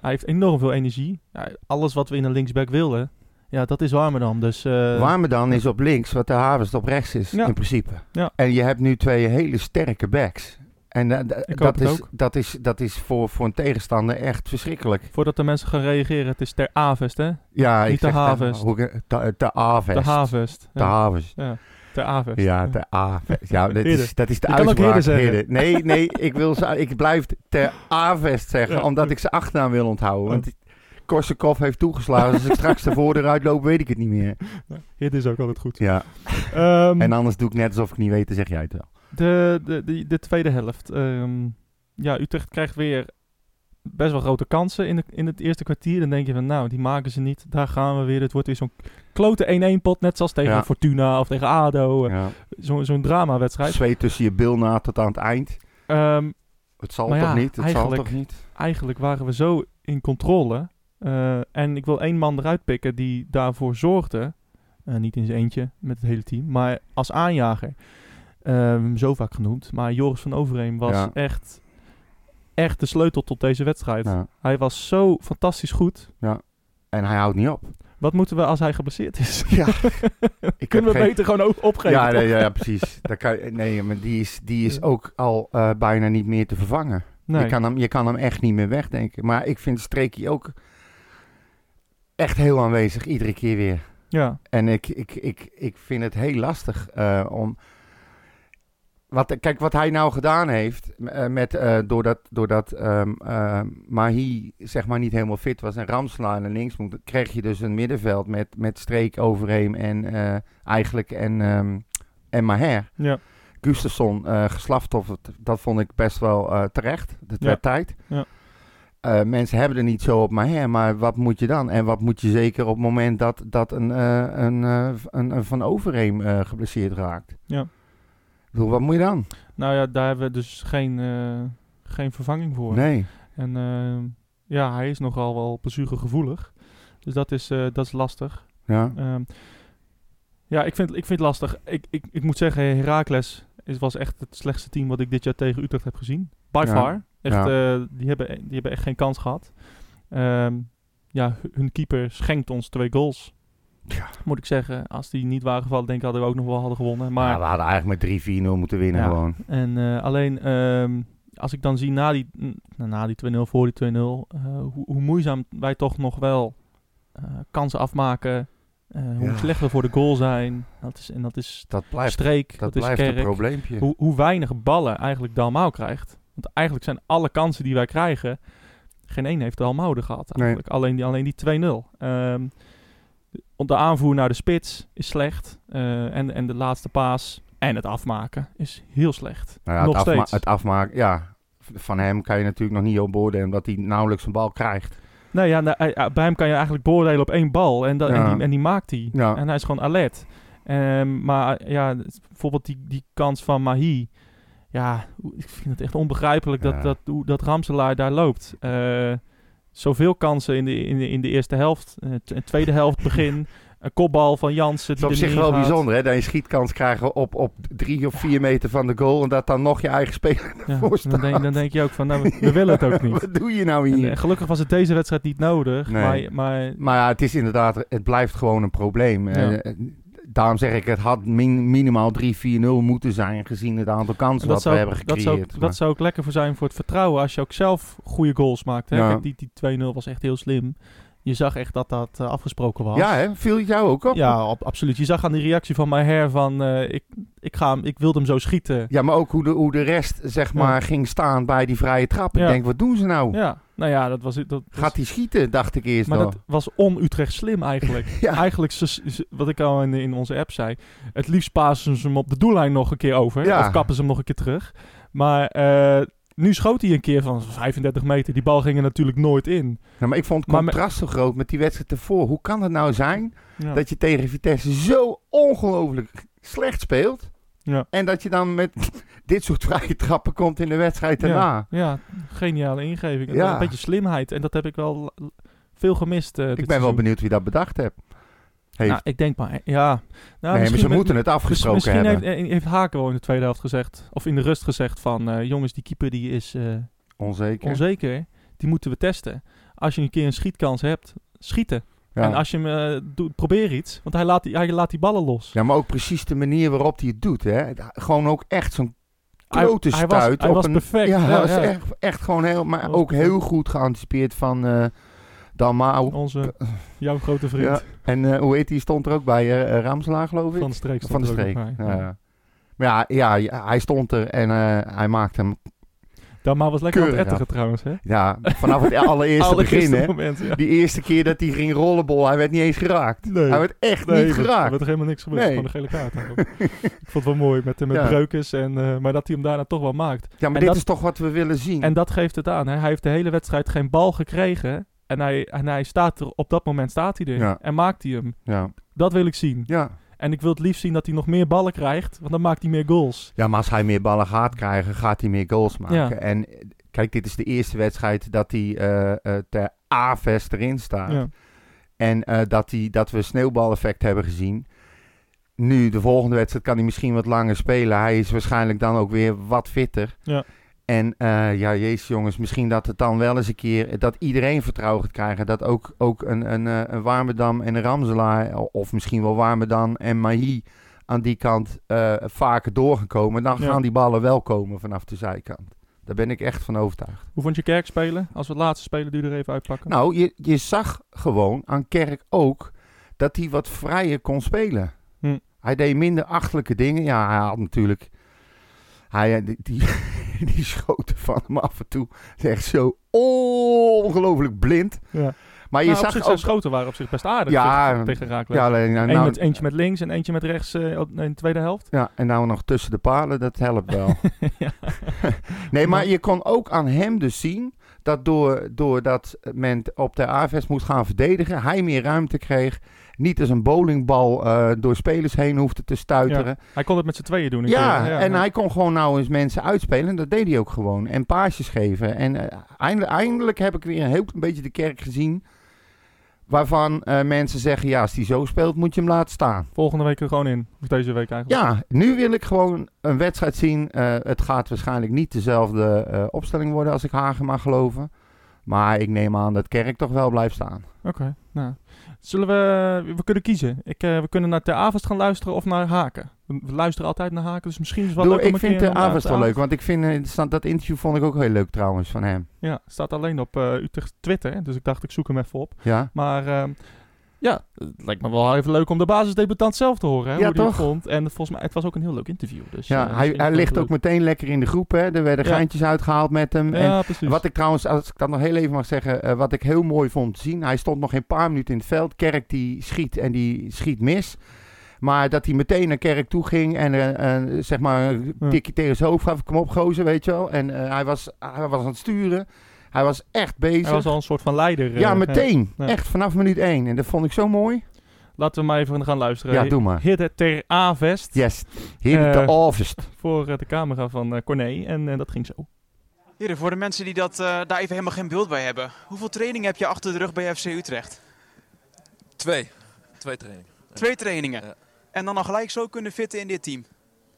S1: hij heeft enorm veel energie. Ja, alles wat we in een linksback wilden, ja, dat is Warmerdam. Dus, eh,
S2: Warmerdam is op links, wat de Havens op rechts is,
S1: Ja.
S2: in principe.
S1: Ja.
S2: En je hebt nu twee hele sterke backs. En eh, d-
S1: hoop
S2: dat,
S1: het
S2: is,
S1: ook.
S2: dat, is, dat is voor, voor een tegenstander echt verschrikkelijk.
S1: voordat de mensen gaan reageren, het is ter Avest, hè?
S2: Ja,
S1: Niet
S2: ik
S1: de
S2: zeg dan-
S1: Havest.
S2: hoe ik- Te eh, te Avest.
S1: Ter Havest.
S2: Te
S1: Ja,
S2: Havest.
S1: ja, ter Avest.
S2: Ja, ter Avest. Ja, dat is,
S1: Heerden.
S2: dat is de
S1: Je kan ook
S2: uitspraak.
S1: Heerden zeggen.
S2: Heerden. Nee, nee, ik, wil ze, ik blijf ter Avest zeggen,
S1: Ja.
S2: omdat ik zijn achternaam wil onthouden. Want Korsakoff heeft toegeslagen. Dus als ik straks de voordeur uitloop, weet ik het niet meer.
S1: Dit is ook altijd goed.
S2: Ja.
S1: Ehm,
S2: En anders doe ik net alsof ik niet weet, dan zeg jij het wel.
S1: de, de, de, de tweede helft. Ehm, ja, Utrecht krijgt weer best wel grote kansen in, de, in het eerste kwartier. Dan denk je van, nou, die maken ze niet. Daar gaan we weer. Het wordt weer zo'n klote 1-1-pot. Net zoals tegen
S2: Ja.
S1: Fortuna of tegen ADO. eh,
S2: Ja.
S1: Zo'n zo'n drama-wedstrijd.
S2: Zweet tussen je bil na tot aan het eind.
S1: Ehm,
S2: Het zal
S1: Maar
S2: toch
S1: ja,
S2: niet? Het zal
S1: eigenlijk-
S2: toch niet?
S1: eigenlijk waren we zo in controle. eh, en ik wil één man eruit pikken die daarvoor zorgde. Eh, niet in zijn eentje met het hele team, maar als aanjager. Ehm, zo vaak genoemd. Maar Joris van Overheem was
S2: Ja.
S1: echt, echt de sleutel tot deze wedstrijd.
S2: Ja.
S1: Hij was zo fantastisch goed.
S2: En hij houdt niet op.
S1: Wat moeten we als hij geblesseerd is?
S2: Ja. Ik heb
S1: Kunnen we
S2: geen-
S1: beter gewoon o- opgeven?
S2: Ja,
S1: toch?
S2: nee, ja, ja, precies. Daar kan, je- nee, maar die is, die is
S1: Ja.
S2: ook al eh, bijna niet meer te vervangen.
S1: Nee.
S2: Je, kan hem, je kan hem echt niet meer wegdenken. Maar ik vind Streekie ook echt heel aanwezig, iedere keer weer.
S1: Ja.
S2: En ik, ik, ik, ik vind het heel lastig eh, om... Wat, kijk, wat hij nou gedaan heeft, eh, met, eh, doordat, doordat ehm, ehm, Mahi zeg maar niet helemaal fit was en Ramselaar naar links moet, kreeg je dus een middenveld met, met Streek, Overheem en eh, eigenlijk en, ehm, en Maher.
S1: Ja.
S2: Gustafsson eh geslaft. Of het, dat vond ik best wel eh, terecht. Dat
S1: Ja.
S2: werd tijd.
S1: Ja.
S2: eh, mensen hebben er niet zo op, maar, hè, maar wat moet je dan? En wat moet je zeker op het moment dat, dat een, eh, een, eh, een, een Van Overheem eh, geblesseerd raakt?
S1: Ja.
S2: Ik bedoel, wat moet je dan?
S1: Nou ja, daar hebben we dus geen, eh, geen vervanging voor.
S2: Nee.
S1: En eh, ja, hij is nogal wel blessuregevoelig. Dus dat is, eh, dat is lastig.
S2: Ja.
S1: Ehm, ja, ik vind, ik vind het lastig. Ik, ik, ik moet zeggen, Heracles is, was echt het slechtste team wat ik dit jaar tegen Utrecht heb gezien. By
S2: Ja.
S1: far. Echt,
S2: Ja.
S1: eh, die, hebben, die hebben echt geen kans gehad. Ehm, ja, hu- hun keeper schenkt ons twee goals.
S2: Ja.
S1: Moet ik zeggen, als die niet waren gevallen, denk ik hadden we ook nog wel hadden gewonnen. Maar
S2: Ja, we hadden eigenlijk met 3-4-0 moeten winnen
S1: Ja.
S2: gewoon.
S1: en eh, alleen, ehm, als ik dan zie na die, n- nou, na die 2-0, voor die 2-0, eh, hoe, hoe moeizaam wij toch nog wel eh, kansen afmaken. eh, hoe
S2: Ja.
S1: slecht we voor de goal zijn. Dat is, en dat is
S2: Dat blijft,
S1: streek, dat,
S2: dat
S1: is
S2: blijft een
S1: kerk.
S2: probleempje.
S1: Hoe, hoe weinig ballen eigenlijk Dalmau krijgt. Want eigenlijk zijn alle kansen die wij krijgen, geen één heeft Dalmau er gehad eigenlijk. Alleen die, alleen die 2-0. Ehm, de aanvoer naar de spits is slecht. eh, en, en de laatste paas en het afmaken is heel slecht.
S2: Nou ja,
S1: Nog
S2: het, afma-
S1: steeds.
S2: het afmaken, ja. V- Van hem kan je natuurlijk nog niet op beoordelen, omdat hij nauwelijks een bal krijgt.
S1: Nee, ja, nou, hij- hij- bij hem kan je eigenlijk beoordelen op één bal. En, dat, en,
S2: Ja.
S1: die, en die maakt hij.
S2: Ja.
S1: En hij is gewoon alert. Ehm, maar eh, ja, het- bijvoorbeeld die, die kans van Mahi. Ja, hoe- ik vind het echt onbegrijpelijk dat,
S2: Ja.
S1: dat, hoe dat Ramselaar daar loopt. Eh, zoveel kansen in de, in de, in de eerste helft. eh, t- en tweede helft begin. een kopbal van Jansen.
S2: Het is
S1: die
S2: op
S1: er
S2: zich
S1: niet
S2: wel
S1: in gaat.
S2: bijzonder, hè? Dat je een schietkans krijgt op, op drie of vier meter van de goal en dat dan nog je eigen speler
S1: Ja,
S2: voor
S1: dan, denk, dan denk je ook van, nou, we, we willen het ook niet.
S2: Wat doe je nou
S1: En,
S2: hier?
S1: eh, gelukkig was het deze wedstrijd niet nodig.
S2: Nee.
S1: Maar, maar
S2: Maar ja, het is inderdaad, het blijft gewoon een probleem.
S1: Ja.
S2: Eh, daarom zeg ik, het had min- minimaal 3-4-0 moeten zijn, gezien het aantal kansen
S1: En
S2: dat, we hebben
S1: dat,
S2: gecreëerd.
S1: zou, ook-
S2: Maar-
S1: dat zou ook lekker voor zijn voor het vertrouwen als je ook zelf goede goals maakt. Hè?
S2: Ja.
S1: Kijk, die, die 2-0 was echt heel slim. Je zag echt dat dat eh, afgesproken was.
S2: ja, hè? viel het jou ook op?
S1: Ja, ab- absoluut. Je zag aan de reactie van mijn her van eh, ik, ik, ga hem, ik wilde hem zo schieten.
S2: Ja, maar ook hoe de, hoe de rest, zeg
S1: Ja.
S2: maar, ging staan bij die vrije trap. Ik
S1: Ja.
S2: denk, wat doen ze nou?
S1: Ja, nou ja, dat was... Dat, dat-
S2: Gaat hij schieten, dacht ik eerst
S1: maar
S2: nog.
S1: dat was on-Utrecht slim eigenlijk.
S2: Ja.
S1: Eigenlijk, ze- ze- wat ik al in, in onze app zei, het liefst pasen ze hem op de doellijn nog een keer over.
S2: Ja.
S1: Of kappen ze hem nog een keer terug. Maar eh, nu schoot hij een keer van 35 meter. Die bal ging er natuurlijk nooit in.
S2: Nou, maar ik vond het
S1: Maar met-
S2: contrast zo groot met die wedstrijd ervoor. Hoe kan het nou zijn
S1: Ja.
S2: dat je tegen Vitesse zo ongelooflijk slecht speelt...
S1: Ja.
S2: en dat je dan met dit soort vrije trappen komt in de wedstrijd
S1: Ja.
S2: daarna?
S1: Ja, geniale ingeving. En
S2: Ja.
S1: dan Een beetje slimheid. En dat heb ik wel l- veel gemist. eh, dit
S2: Ik ben wel
S1: seizoen.
S2: benieuwd wie dat bedacht heeft. heeft.
S1: Nou, ik denk maar, ja. Nou,
S2: nee, maar
S1: misschien
S2: ze
S1: met-
S2: moeten het
S1: misschien-
S2: afgesproken
S1: misschien
S2: hebben.
S1: heeft, eh, heeft Haken wel in de tweede helft gezegd, of in de rust gezegd van, eh, jongens, die keeper die is eh,
S2: Onzeker.
S1: onzeker. Die moeten we testen. Als je een keer een schietkans hebt, schieten.
S2: ja.
S1: En als je hem eh, doet, probeer iets. Want hij laat die, hij laat die ballen los.
S2: ja, maar ook precies de manier waarop hij het doet. Hè. Gewoon ook echt zo'n
S1: Hij-
S2: klote
S1: hij
S2: stuit.
S1: was- hij
S2: op
S1: was
S2: een,
S1: perfect.
S2: Ja,
S1: Ja,
S2: hij was
S1: ja.
S2: Echt, echt gewoon heel... Maar
S1: Hij was
S2: ook
S1: perfect.
S2: heel goed geanticipeerd van eh Dalmau.
S1: Onze, jouw grote vriend
S2: Ja. En eh, hoe heet die stond er ook bij? eh, eh, Ramselaar, geloof ik?
S1: van de streek. stond
S2: Van de
S1: er ook
S2: streek.
S1: nog bij.
S2: Ja. Maar ja, ja, ja, hij stond er en eh, hij maakte hem
S1: Dan maar was lekker aan het
S2: Keurig af.
S1: etteren trouwens, hè?
S2: ja, vanaf het allereerste begin.
S1: Allereerste
S2: Hè.
S1: moment, ja.
S2: Die eerste keer dat hij ging rollenbol, hij werd niet eens geraakt.
S1: Nee.
S2: Hij werd echt niet
S1: er
S2: geraakt.
S1: werd helemaal niks gebeurd.
S2: Nee.
S1: Gewoon een gele kaart. eigenlijk. ik vond het wel mooi met, met
S2: Ja.
S1: breukers. En, eh, maar dat hij hem daarna toch wel maakt.
S2: Ja, maar
S1: En
S2: dit
S1: dat-
S2: is toch wat we willen zien.
S1: En dat geeft het aan. Hè? Hij heeft de hele wedstrijd geen bal gekregen. En hij, en hij staat er, op dat moment staat hij er.
S2: Ja.
S1: En maakt hij hem.
S2: ja.
S1: Dat wil ik zien.
S2: Ja.
S1: En ik wil het liefst zien dat hij nog meer ballen krijgt. Want dan maakt hij meer goals.
S2: ja, maar als hij meer ballen gaat krijgen, gaat hij meer goals maken.
S1: Ja.
S2: En eh, kijk, dit is de eerste wedstrijd dat hij eh, eh, ter A-vest erin staat.
S1: Ja.
S2: En eh, dat, hij, dat we sneeuwbaleffect hebben gezien. Nu, de volgende wedstrijd kan hij misschien wat langer spelen. Hij is waarschijnlijk dan ook weer wat fitter.
S1: Ja.
S2: En eh, ja, jezus jongens, misschien dat het dan wel eens een keer... eh, dat iedereen vertrouwen gaat krijgen. Dat ook, ook een, een, eh, een Warmerdam en een Ramselaar... eh, of misschien wel Warmerdam en Mahi aan die kant eh, vaker doorgekomen. Dan
S1: Ja.
S2: gaan die ballen wel komen vanaf de zijkant. Daar ben ik echt van overtuigd.
S1: Hoe vond je Kerk spelen? Als we het laatste spelen, die er even uitpakken.
S2: Nou, je, je zag gewoon aan Kerk ook dat hij wat vrijer kon spelen.
S1: Hm.
S2: Hij deed minder achtelijke dingen. Ja, hij had natuurlijk... Hij, eh, die, die, die schoten van hem af en toe. Het is echt zo ongelooflijk blind.
S1: Ja.
S2: Maar je
S1: Nou, op zich
S2: zag
S1: zijn
S2: ook...
S1: schoten waren op zich best aardig
S2: Ja,
S1: tegen, tegen Raakles.
S2: Ja, alleen, nou,
S1: Eén
S2: nou,
S1: met, eentje met links en eentje met rechts eh, op- in de tweede helft.
S2: ja, en nou nog tussen de palen, dat helpt wel.
S1: ja.
S2: Nee, maar
S1: Maar-
S2: je kon ook aan hem dus zien dat door, doordat men t- op de AFS moest gaan verdedigen, hij meer ruimte kreeg. Niet als een bowlingbal eh, door spelers heen hoefde te stuiteren.
S1: Hij kon het met z'n tweeën doen.
S2: Ja,
S1: ik eh, weet het.
S2: en hij kon gewoon nou eens mensen uitspelen. En dat deed hij ook gewoon. En paasjes geven. En eh, eindelijk, eindelijk heb ik weer een heel klein beetje de kerk gezien. Waarvan eh, mensen zeggen, ja, als die zo speelt, moet je hem laten staan.
S1: Volgende week er gewoon in. Of deze week eigenlijk.
S2: Ja, nu wil ik gewoon een wedstrijd zien. Eh, het gaat waarschijnlijk niet dezelfde eh, opstelling worden als ik Hagen mag geloven. Maar ik neem aan dat Kerk toch wel blijft staan.
S1: Oké. nou. Zullen we... We kunnen kiezen. Ik, eh, we kunnen naar Ter Avest gaan luisteren of naar Haken. We we luisteren altijd naar Haken, dus misschien is het wel
S2: Doe,
S1: leuk om
S2: ik
S1: een
S2: vind
S1: keer
S2: de
S1: naar
S2: avond
S1: Ter
S2: wel leuk, want ik vind eh, interessant, dat interview vond ik ook heel leuk trouwens van hem.
S1: Ja, staat alleen op eh Utrecht Twitter, dus ik dacht ik zoek hem even op.
S2: Ja,
S1: Maar ehm, ja, het lijkt me wel even leuk om de basisdebutant zelf te horen, hè,
S2: Ja,
S1: hoe die het
S2: toch?
S1: vond. En volgens mij, het was ook een heel leuk interview. Dus,
S2: ja
S1: eh,
S2: hij,
S1: misschien
S2: hij
S1: is het
S2: ligt
S1: wel
S2: ook meteen lekker in de groep. Hè. Er werden
S1: Ja.
S2: geintjes uitgehaald met hem.
S1: leuk.
S2: En
S1: Ja, precies.
S2: Wat ik trouwens, als ik dat nog heel even mag zeggen, eh, wat ik heel mooi vond te zien. Hij stond nog geen paar minuten in het veld. Kerk die schiet en die schiet mis. Maar dat hij meteen naar Kerk toe ging en eh, eh, zeg maar een
S1: Ja.
S2: tikje tegen zijn hoofd gaf. Kom op gozer, weet je wel. En eh, hij, was, hij was aan het sturen. Hij was echt bezig.
S1: hij was al een soort van leider. eh,
S2: ja, meteen.
S1: Ja.
S2: Echt vanaf minuut één. En dat vond ik zo mooi.
S1: Laten we maar even gaan luisteren.
S2: Ja, doe maar.
S1: Hidde Ter Avest
S2: Yes. Hier de
S1: Eh,
S2: Alvest.
S1: voor eh, de camera van eh Corné en eh, dat ging zo.
S4: Heren, voor de mensen die dat, eh, daar even helemaal geen beeld bij hebben. Hoeveel training heb je achter de rug bij FC Utrecht?
S5: Twee. Twee trainingen.
S4: Twee trainingen.
S5: Ja.
S4: En dan al gelijk zo kunnen fitten in dit team.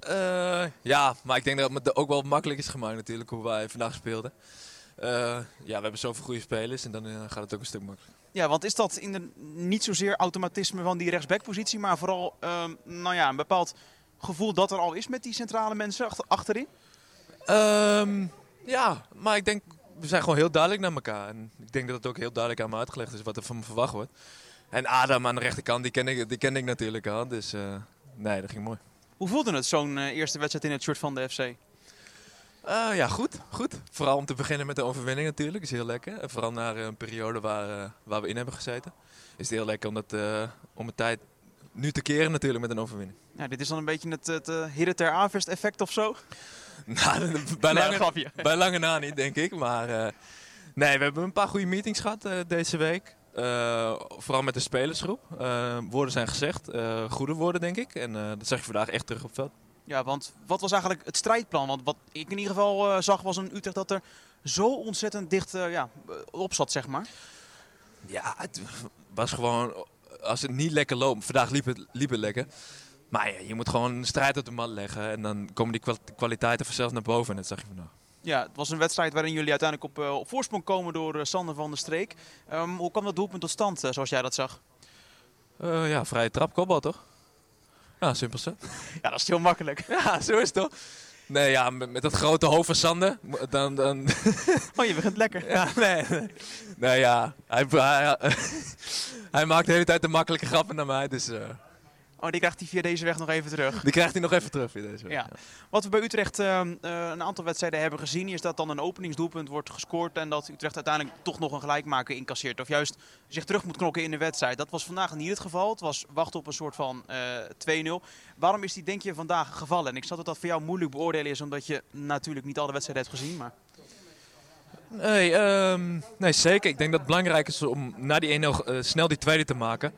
S5: Eh, ja, maar ik denk dat het me ook wel makkelijk is gemaakt natuurlijk hoe wij vandaag speelden. Eh, ja, we hebben zoveel goede spelers en dan eh, gaat het ook een stuk makkelijker.
S4: Ja, want is dat in de, niet zozeer automatisme van die rechtsbackpositie, maar vooral ehm, nou ja, een bepaald gevoel dat er al is met die centrale mensen achter- achterin?
S5: Ehm, ja, maar ik denk, we zijn gewoon heel duidelijk naar elkaar. En ik denk dat het ook heel duidelijk aan me uitgelegd is wat er van me verwacht wordt. En Adam aan de rechterkant, die ken ik, die ken ik natuurlijk al. Dus eh, nee, dat ging mooi.
S4: Hoe voelde het zo'n eh, eerste wedstrijd in het shirt van de FC?
S5: Eh, ja, goed, goed. Vooral om te beginnen met de overwinning natuurlijk, is heel lekker. En vooral na eh, een periode waar, eh, waar we in hebben gezeten, is het heel lekker om, dat, eh, om de tijd nu te keren natuurlijk met een overwinning.
S4: Ja, dit is dan een beetje het, het eh, Heren ter Avest effect of zo?
S5: Nou, dat- bij,
S4: Nee, dat
S5: lange,
S4: grapje.
S5: bij lange na niet, denk ik. Maar eh, nee, we hebben een paar goede meetings gehad eh, deze week. Eh, vooral met de spelersgroep. Eh, woorden zijn gezegd, eh, goede woorden denk ik. En eh, dat zag je vandaag echt terug op het veld.
S4: Ja, want wat was eigenlijk het strijdplan? Want wat ik in ieder geval eh, zag was een Utrecht dat er zo ontzettend dicht eh, ja, eh, op zat, zeg maar.
S5: Ja, het was gewoon. Als het niet lekker loopt. Vandaag liep het, liep het lekker. Maar ja, je moet gewoon een strijd op de mat leggen. En dan komen die kwa- kwaliteiten vanzelf naar boven. En dat zag je vandaag.
S4: Ja, het was een wedstrijd waarin jullie uiteindelijk op, eh, op voorsprong komen door eh, Sander van der Streek. Ehm, hoe kwam dat doelpunt tot stand, eh, zoals jij dat zag?
S5: Eh, ja, vrije trap, kopbal toch? Ja, simpel zo.
S4: Ja, dat is heel makkelijk.
S5: Ja, zo is het toch? Nee, ja, met, met dat grote hoofd van Sander. mo- Dan, dan,
S4: Oh, je begint lekker.
S5: ja, nee. nee. Nou ja, hij, hij, hij maakt de hele tijd de makkelijke grappen naar mij. Dus eh,
S4: Oh, die krijgt hij via deze weg nog even terug.
S5: die krijgt hij nog even terug. weer Deze week.
S4: Ja. Wat we bij Utrecht ehm, eh, een aantal wedstrijden hebben gezien, is dat dan een openingsdoelpunt wordt gescoord en dat Utrecht uiteindelijk toch nog een gelijkmaker incasseert. Of juist zich terug moet knokken in de wedstrijd. Dat was vandaag niet het geval. Het was wachten op een soort van eh 2-0. Waarom is die, denk je, vandaag gevallen? En ik snap dat dat voor jou moeilijk beoordelen is, omdat je natuurlijk niet alle wedstrijden hebt gezien. Maar
S5: Nee, ehm, nee, zeker. Ik denk dat het belangrijk is om na die 1-0 eh, snel die tweede te maken.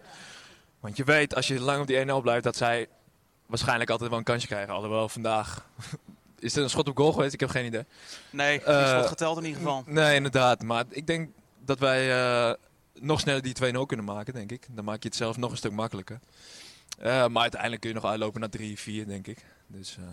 S5: Want je weet, als je lang op die 1-0 blijft, dat zij waarschijnlijk altijd wel een kansje krijgen. Alhoewel vandaag... Is er een schot op goal geweest? Ik heb geen idee.
S4: nee, het
S5: Eh,
S4: is wat geteld in ieder geval.
S5: Nee, inderdaad. Maar ik denk dat wij eh, nog sneller die 2-0 kunnen maken, denk ik. Dan maak je het zelf nog een stuk makkelijker. Eh, maar uiteindelijk kun je nog uitlopen naar 3-4, denk ik. Dus, eh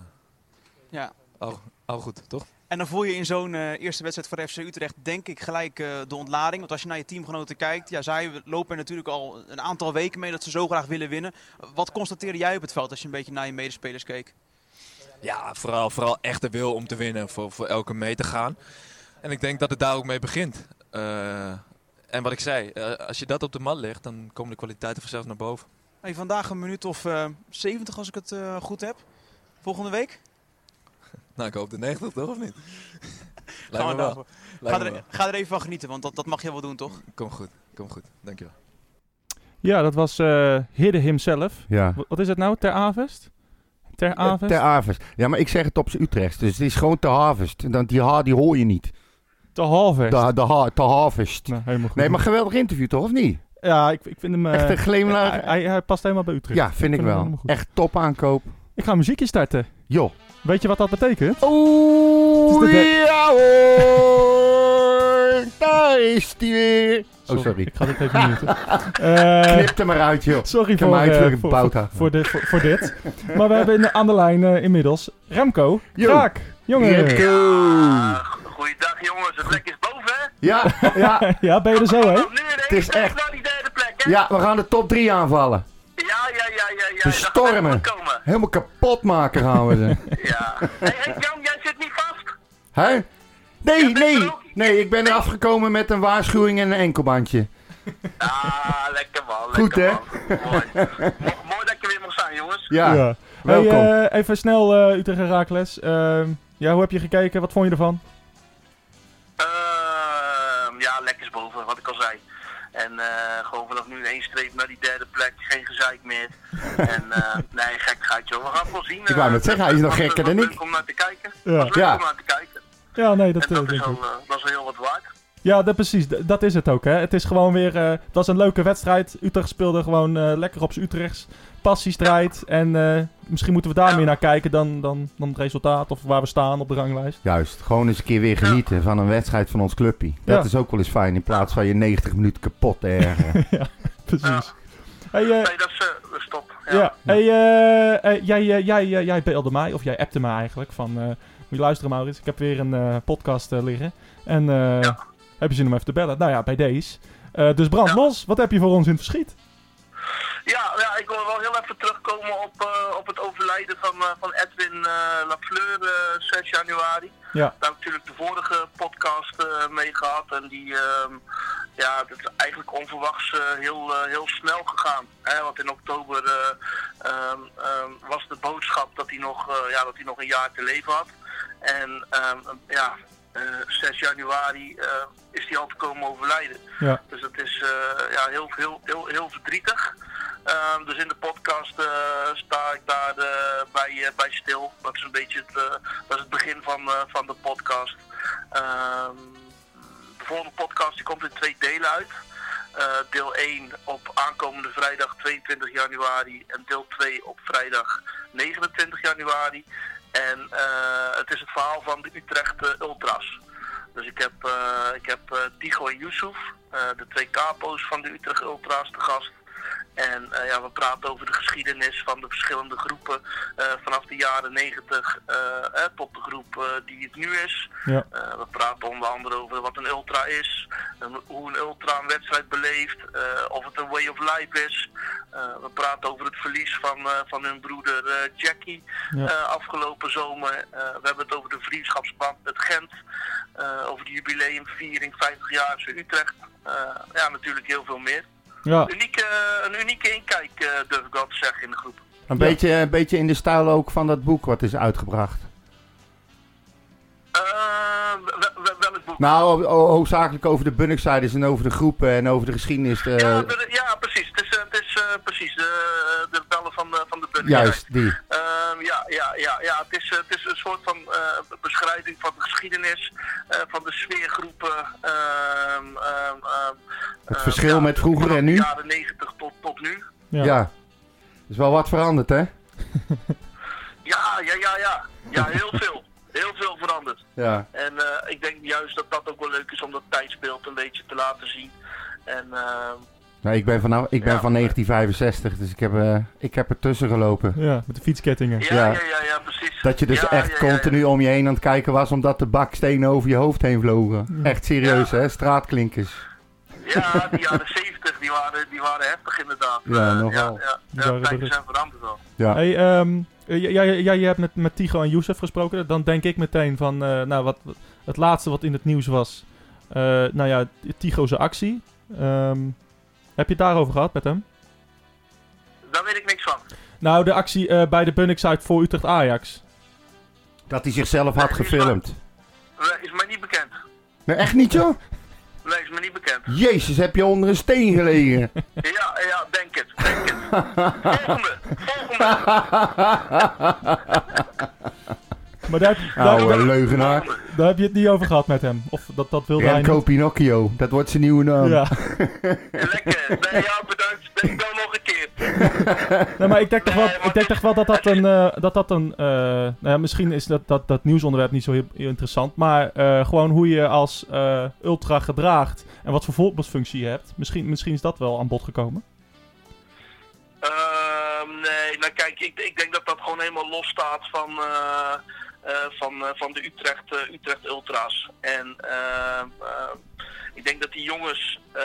S4: Ja.
S5: al, al goed, toch?
S4: En dan voel je in zo'n eh, eerste wedstrijd voor FC Utrecht, denk ik, gelijk eh, de ontlading. Want als je naar je teamgenoten kijkt, ja, zij lopen er natuurlijk al een aantal weken mee dat ze zo graag willen winnen. Wat constateerde jij op het veld als je een beetje naar je medespelers keek?
S5: Ja, vooral, vooral echt de wil om te winnen, voor, voor elke mee te gaan. En ik denk dat het daar ook mee begint. Eh, en wat ik zei, eh, als je dat op de mat legt, dan komen de kwaliteiten vanzelf naar boven.
S4: Hey, vandaag een minuut of eh 70 als ik het eh, goed heb. Volgende week?
S5: Nou, ik hoop de 90 toch, of niet?
S4: Gaan
S5: Lijkt me
S4: we
S5: wel.
S4: daarvoor.
S5: Lijkt
S4: Ga
S5: me
S4: er, ga er even van genieten, want dat, dat mag je wel doen, toch?
S5: wel. Kom goed, kom goed. Dankjewel.
S1: Ja, dat was eh Hidde himself.
S2: Ja.
S1: Wat, wat is het nou? Ter Avest? Ter
S2: Eh,
S1: Avest?
S2: Ter Avest. Ja, maar ik zeg het op z'n Utrecht. Dus het is gewoon Ter Harvest. Dan, die H die hoor je niet.
S1: te harvest.
S2: De, de, ha- te harvest.
S1: Nou, helemaal goed.
S2: Nee, maar geweldig interview toch, of niet?
S1: Ja, ik, ik vind hem... eh,
S2: Echt een glimlach.
S1: hij, hij, hij past helemaal bij Utrecht.
S2: Ja, vind ik
S1: hem
S2: wel.
S1: helemaal goed.
S2: Echt top aankoop.
S1: Ik ga een muziekje starten.
S2: Joh.
S1: Weet je wat dat betekent?
S2: Oeh,
S1: Het is de derde-
S2: ja hoor. Daar is die weer. Oh, sorry.
S1: Ik ga dit even muten. Eh,
S2: Knip hem eruit, joh.
S1: sorry
S2: Ik heb
S1: voor,
S2: hem
S1: eh,
S2: uitdrukken,
S1: voor, voor,
S2: Bouta.
S1: voor, dit, voor, voor dit. Maar we hebben in- aan de lijn eh, inmiddels Remco
S2: Yo.
S1: Kraak. Jongen.
S2: Remco.
S6: Goeiedag jongens, het plek is boven hè?
S2: Ja, ja,
S1: Ja, ben je er zo, hè?
S6: Nu in
S2: is
S6: één tijd
S2: echt-
S6: naar die derde plek hè?
S2: ja, we gaan de top 3 aanvallen.
S6: ja, ja, ja, ja. ja.
S2: De
S6: Dat gaat echt
S2: stormen.
S6: goed komen.
S2: Helemaal kapot maken gaan we ze.
S6: Ja. Hé, hey, Jan, jij zit niet vast.
S2: Hè? Nee, nee. Nee, ik ben er afgekomen met een waarschuwing en een enkelbandje.
S6: Ah, lekker man, lekker
S2: Goed, hè?
S6: man. Mooi. Mo- mooi dat je weer mocht zijn jongens.
S2: Ja,
S1: Hey,
S2: welkom.
S1: eh, even snel, eh Utrecht Herakles. Ehm ja, hoe heb je gekeken? Wat vond je ervan?
S6: Ehm, ja, lekker is boven, wat ik al zei. En eh, gewoon vanaf nu in één streep naar die derde plek, geen gezeik meer. En eh, nee, gek gaat joh. We gaan het wel zien. eh,
S2: Ik wou net zeggen, hij is nog
S6: Was-
S2: gekker
S6: was
S2: dan ik.
S6: leuk om naar te kijken.
S1: Ja.
S6: Was leuk
S2: Ja.
S6: om naar te kijken.
S1: Ja, nee, dat,
S6: En dat
S1: eh, denk
S6: is al,
S1: ik.
S6: eh, dat is al heel wat waard.
S1: Ja, dat, precies. D- dat is het ook, hè. Het is gewoon weer... eh het was een leuke wedstrijd. Utrecht speelde gewoon eh, lekker op z'n Utrechts. Passiestrijd. En eh, misschien moeten we daar meer naar kijken dan, dan, dan het resultaat of waar we staan op de ranglijst.
S2: Juist, gewoon eens een keer weer genieten van een wedstrijd van ons clubje. Dat
S1: Ja.
S2: is ook wel eens fijn, in plaats van je 90 minuten kapot te ergeren.
S1: Precies. Hey, eh,
S6: Nee, dat is, eh, dat is top. Ja.
S1: Ja, hey, eh, eh, jij, eh, jij, eh, jij belde mij, of jij appte mij eigenlijk, van... eh, moet je luisteren, Maurits, ik heb weer een eh, podcast eh, liggen. En eh, heb je zin om even te bellen? Nou ja, bij deze. Eh, dus brand
S6: Ja.
S1: los, wat heb je voor ons in het verschiet?
S6: Ja, ja, ik wil wel heel even terugkomen op, eh, op het overlijden van, eh, van Edwin eh, Lafleur eh 6 januari.
S1: Ja.
S6: Daar heb ik natuurlijk de vorige podcast eh, mee gehad. En die, ehm, ja, dat is eigenlijk onverwachts eh, heel, eh, heel snel gegaan. Hè? Want in oktober eh, ehm, ehm, was de boodschap dat hij, nog, eh, ja, dat hij nog een jaar te leven had. En ehm, ja, eh, 6 januari eh, is hij al te komen overlijden.
S1: Ja.
S6: Dus dat is eh, ja, heel, heel, heel, heel verdrietig. Ehm, dus in de podcast eh, sta ik daar eh, bij, eh, bij stil. Dat is een beetje het, eh, dat is het begin van, eh, van de podcast. Ehm, de volgende podcast die komt in twee delen uit. Eh, deel 1 op aankomende vrijdag 22 januari en deel 2 op vrijdag 29 januari. En eh, het is het verhaal van de Utrecht eh, Ultras. Dus ik heb, eh ik heb eh, Tigo en Yusuf, eh, de twee capo's van de Utrecht Ultras, te gast. En eh, ja, we praten over de geschiedenis van de verschillende groepen eh, vanaf de jaren 90 eh, eh, tot de groep eh, die het nu is.
S1: Ja.
S6: Eh, we praten onder andere over wat een ultra is, en hoe een ultra een wedstrijd beleeft, eh, of het een way of life is. Eh, we praten over het verlies van, eh, van hun broeder eh, Jackie
S1: Ja.
S6: eh, afgelopen zomer. Eh, we hebben het over de vriendschapsband met Gent, eh, over de jubileumviering 50 jaar in Utrecht. Eh, ja, natuurlijk heel veel meer.
S1: Ja,
S6: Unieke, een unieke inkijk eh, durf ik wel te zeggen in de groep.
S2: Een, beetje, een beetje in de stijl ook van dat boek wat is uitgebracht.
S6: Eh, wel- wel- welk boek?
S2: Nou, ho- ho- hoofdzakelijk over de Bunnicksiders en over de groepen en over de geschiedenis. eh,
S6: ja, de- ja, precies. Het is, eh, het is eh, precies de, de bellen van de, van de Bunny.
S2: juist, die.
S6: Ehm, ja, ja, ja, ja. Het, is, eh, het is een soort van eh, beschrijving van de geschiedenis, eh, van de sfeergroepen. ehm, ehm, ehm,
S2: Het
S6: ehm,
S2: verschil
S6: ja,
S2: met vroeger
S6: vanaf
S2: en nu?
S6: De jaren 90 tot, tot nu.
S1: Ja.
S2: Ja. Is wel wat veranderd, hè?
S6: Ja, ja, ja, ja. Ja, heel veel. Heel veel veranderd.
S2: Ja.
S6: En eh, ik denk juist dat dat ook wel leuk is om dat tijdsbeeld een beetje te laten zien. En ehm,
S2: Nou, ik ben, vanaf, ik ben
S6: Ja.
S2: van 1965, dus ik heb, eh ik heb er tussen gelopen.
S1: ja, met de fietskettingen.
S6: ja,
S2: Ja.
S6: ja. Ja, ja, precies.
S2: Dat je dus
S6: Ja,
S2: echt
S6: ja, ja, ja.
S2: continu om je heen aan het kijken was, omdat de bakstenen over je hoofd heen vlogen. Echt serieus, hè? Straatklinkers.
S6: Ja, die jaren 70, die waren, die waren heftig inderdaad.
S2: Ja,
S6: Eh,
S2: nogal.
S6: Ja, ja.
S1: Die
S6: ja
S1: waren
S6: tijden
S1: er-
S6: zijn veranderd wel.
S2: Ja.
S1: Hey, ehm, eh, jij, jij, jij hebt met, met Tigo en Youssef gesproken. Dan denk ik meteen van, eh, nou, wat, wat- het laatste wat in het nieuws was. eh, nou ja, Tigo's actie. Ehm, heb je het daarover gehad met hem?
S6: Daar weet ik niks van.
S1: Nou, de actie eh, bij de Bunnickside voor Utrecht Ajax.
S2: Dat hij zichzelf had gefilmd.
S6: Nee, Is mij niet bekend.
S2: Nee, echt niet, joh?
S6: Nee, is mij niet bekend.
S2: Jezus, heb je onder een steen gelegen?
S6: Ja, ja, denk het. Denk het. Volgende. Volgende.
S1: Maar daar, daar,
S2: Oude Oh, leugenaar.
S6: Oh, Volgende.
S1: Daar heb je het niet over gehad met hem. Of dat, dat wilde hij
S2: Remco
S1: niet.
S2: Pinocchio, dat wordt zijn nieuwe naam.
S1: Ja.
S6: Lekker. Nee, ja, bedankt. Denk dan nog een keer.
S1: Nee, maar ik denk toch wel,
S6: Nee, maar
S1: ik denk toch wel dat dat een... eh, dat dat een eh, nou ja, misschien is dat, dat, dat nieuwsonderwerp niet zo heel, heel interessant. Maar eh, gewoon hoe je als eh, ultra gedraagt en wat voor voorbeeldfunctie je hebt. Misschien, misschien is dat wel aan bod gekomen.
S6: Ehm, nee, nou kijk, ik, ik denk dat dat gewoon helemaal los staat van, eh, eh, van, eh, van de Utrecht, eh, Utrecht Ultras. En ehm, ehm, ik denk dat die jongens eh,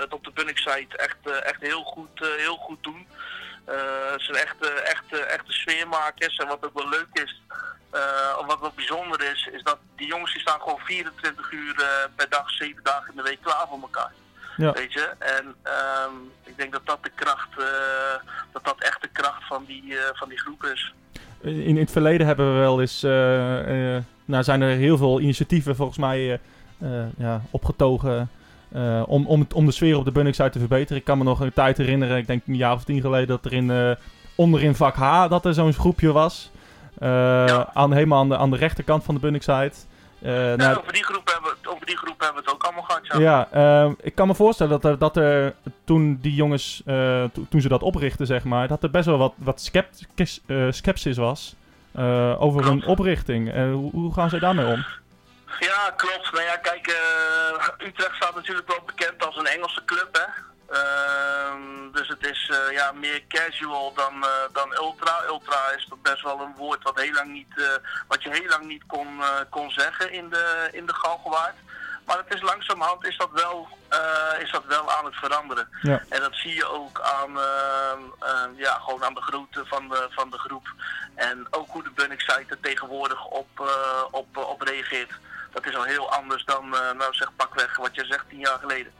S6: het op de Bunnik site echt, eh, echt heel, goed, eh, heel goed doen. Eh, ze zijn echt, eh, echt, eh, echte sfeermakers. En wat ook wel leuk is, eh, of wat wel bijzonder is, is dat die jongens die staan gewoon 24 uur eh, per dag, 7 dagen in de week klaar voor elkaar.
S1: Ja.
S6: Weet je? En ehm, ik denk dat dat de kracht, eh, dat dat echt de kracht van die, eh, van die groep is.
S1: In, in het verleden hebben we wel eens. eh, eh, nou, zijn er heel veel initiatieven volgens mij eh, eh, ja, opgetogen. eh, om, om, het- om de sfeer op de Bunnings uit te verbeteren. Ik kan me nog een tijd herinneren, ik denk een jaar of tien geleden, dat er in, eh, onderin vak H dat er zo'n groepje was. Eh, aan, helemaal aan de, aan de rechterkant van de Bunningside. Eh nou,
S6: Ja, over, die groep hebben, we- over die groep hebben we het ook allemaal gehad. Ja.
S1: ja, ehm, ik kan me voorstellen dat er, dat er toen die jongens, eh, to- toen ze dat oprichten, zeg maar, dat er best wel wat, wat scept, kes- eh, sceptisch was eh, over hun oprichting. Eh, hoe, hoe gaan zij daarmee om?
S6: Ja, klopt. Nou ja, kijk, eh, Utrecht staat natuurlijk wel bekend als een Engelse club, hè. Ehm, dus het is eh, ja, meer casual dan, eh, dan ultra. Ultra is toch best wel een woord wat, heel lang niet, eh, wat je heel lang niet kon, eh, kon zeggen in de, in de Galgenwaard. Maar het is langzamerhand is dat wel, eh, is dat wel aan het veranderen.
S1: Ja.
S6: En dat zie je ook aan, ehm, ehm, ja, gewoon aan de grootte van de, van de groep. En ook hoe de Bunnik site er tegenwoordig op, eh, op, op reageert. Dat is al heel anders dan, eh, nou zeg pakweg, wat je zegt tien jaar geleden.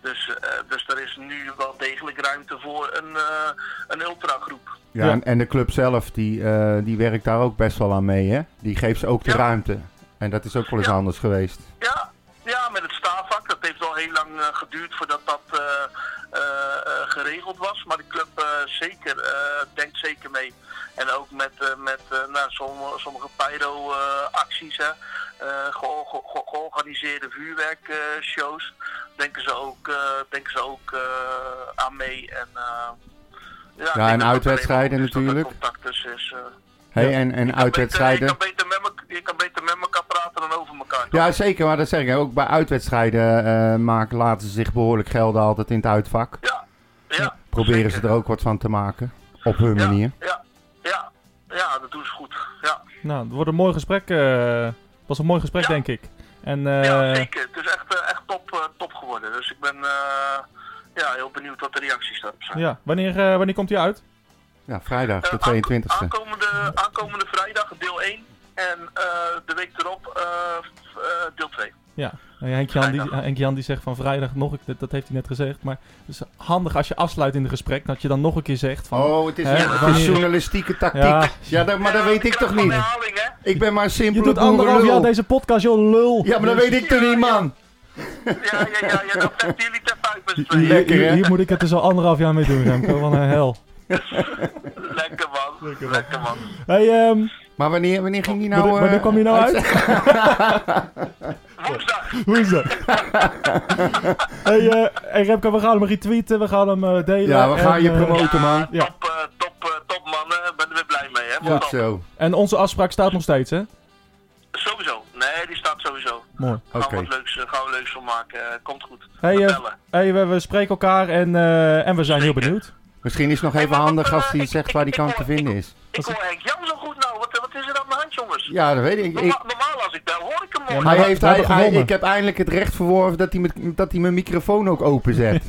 S6: Dus, eh, dus er is nu wel degelijk ruimte voor een, eh, een ultragroep.
S2: Ja,
S1: Ja.
S2: En, en de club zelf, die, eh, die werkt daar ook best wel aan mee, hè? Die geeft ze ook de
S6: Ja.
S2: ruimte. En dat is ook wel eens
S6: Ja.
S2: anders geweest.
S6: Ja, ja, met het staafvak. Dat heeft al heel lang eh, geduurd voordat dat eh, eh, eh, geregeld was. Maar de club eh, zeker, eh, denkt zeker mee. En ook met, eh, met eh, nou, sommige, sommige pyro-acties, hè. Eh, geo- ge- ge- georganiseerde vuurwerkshows. denken ze ook, eh, denken ze ook eh, aan mee. En, eh, ja, ik denk dat dat alleen maar
S2: uitwedstrijden
S6: goed is dat er
S2: natuurlijk.
S6: Contact tussen is, eh.
S2: Hey, en, en
S6: Beter, je,
S2: uitwedstrijden.
S6: kan beter met elkaar- je kan beter met elkaar praten dan over elkaar. toch?
S2: Ja, zeker, maar dat zeg ik. hè. Ook bij uitwedstrijden eh, maken, laten ze zich behoorlijk gelden altijd in het uitvak.
S6: Ja, ja.
S2: Proberen
S6: zeker.
S2: ze er ook wat van te maken. Op hun
S6: ja,
S2: manier.
S6: Ja, ja, ja, dat doen ze goed. Ja,
S1: Nou, het wordt een mooi gesprek. eh, het was een mooi gesprek,
S6: Ja.
S1: denk ik. En
S6: ja
S1: eh,
S6: zeker. Het is echt, eh, echt top, eh, top geworden. Dus ik ben eh, ja, heel benieuwd wat de reacties daarop zijn.
S1: ja, wanneer, eh, wanneer komt hij uit?
S2: Ja, vrijdag,
S6: Eh,
S2: de
S6: aanko-
S2: 22e.
S6: Aankomende, aankomende vrijdag deel 1 en eh, de week erop eh, f- eh, deel 2.
S1: Ja, nou ja, Henk, Jan, die,
S6: Vrijdag.
S1: Henk Jan die zegt van vrijdag nog, ik- dat, dat heeft hij net gezegd. Maar het is handig als je afsluit in het gesprek, dat je dan nog een keer zegt van...
S2: Oh, het is,
S1: Hè?
S2: het is journalistieke tactiek.
S1: Ja.
S2: Ja, dat, maar
S6: Eh,
S2: dat weet ik toch niet.
S6: Herhaling, hè?
S2: Ik ben maar een
S1: je
S2: simpele
S1: doet anderhalf jaar
S2: boerenlul.
S1: deze podcast, joh, lul!
S2: Ja, maar dat weet ik toch niet, man.
S6: Ja, ja, ja, ja, dat vechten jullie ten vijf met z'n
S2: Le-
S6: tweeën.
S2: Ah, Lekker,
S1: hier,
S2: hè?
S1: hier moet ik het dus al anderhalf jaar mee doen, Remco. Wat een hel.
S6: Lekker man, lekker, man.
S1: Hey, ehm,
S2: Maar wanneer, wanneer ging die nou...
S1: wanneer, wanneer
S2: eh,
S1: kwam je nou uit?
S6: Woensdag,
S1: Hoe is dat? hey, eh, hey Remco, we gaan hem retweeten, we gaan hem eh, delen.
S2: Ja, we gaan
S1: en,
S2: je
S1: eh,
S2: promoten, man.
S1: Ja.
S6: top, eh, top, eh, top mannen. Ik ben er weer blij mee, hè?
S2: Goed
S6: Top.
S2: zo.
S1: en onze afspraak staat nog steeds, hè?
S6: Sowieso. Nee, die staat sowieso.
S1: Mooi.
S6: Gaan
S2: Oké.
S6: we wat leuks, eh, gaan we leuks van maken. Eh, komt goed.
S1: Hey, eh,
S6: Bellen.
S1: hey, we, we spreken elkaar en, eh, en we zijn heel
S6: Zeker.
S1: benieuwd.
S2: Misschien is het nog even
S6: maar wat,
S2: handig
S6: eh,
S2: als hij
S6: ik-
S2: zegt
S6: ik-
S2: waar die
S6: ik
S2: kan
S6: hoor-
S2: te vinden is.
S6: Ik hoor Henk Jan zo goed nou. Wat, wat is er aan de hand, jongens?
S2: Ja, dat weet ik.
S6: Norma-
S2: ik
S6: normaal als ik bel hoor ik hem
S1: Ja,
S6: nooit.
S1: maar-
S2: hij heeft,
S1: we hebben
S2: hij, hij-
S1: gewonnen.
S2: ik heb eindelijk het recht verworven dat hij, met, dat hij mijn microfoon ook openzet.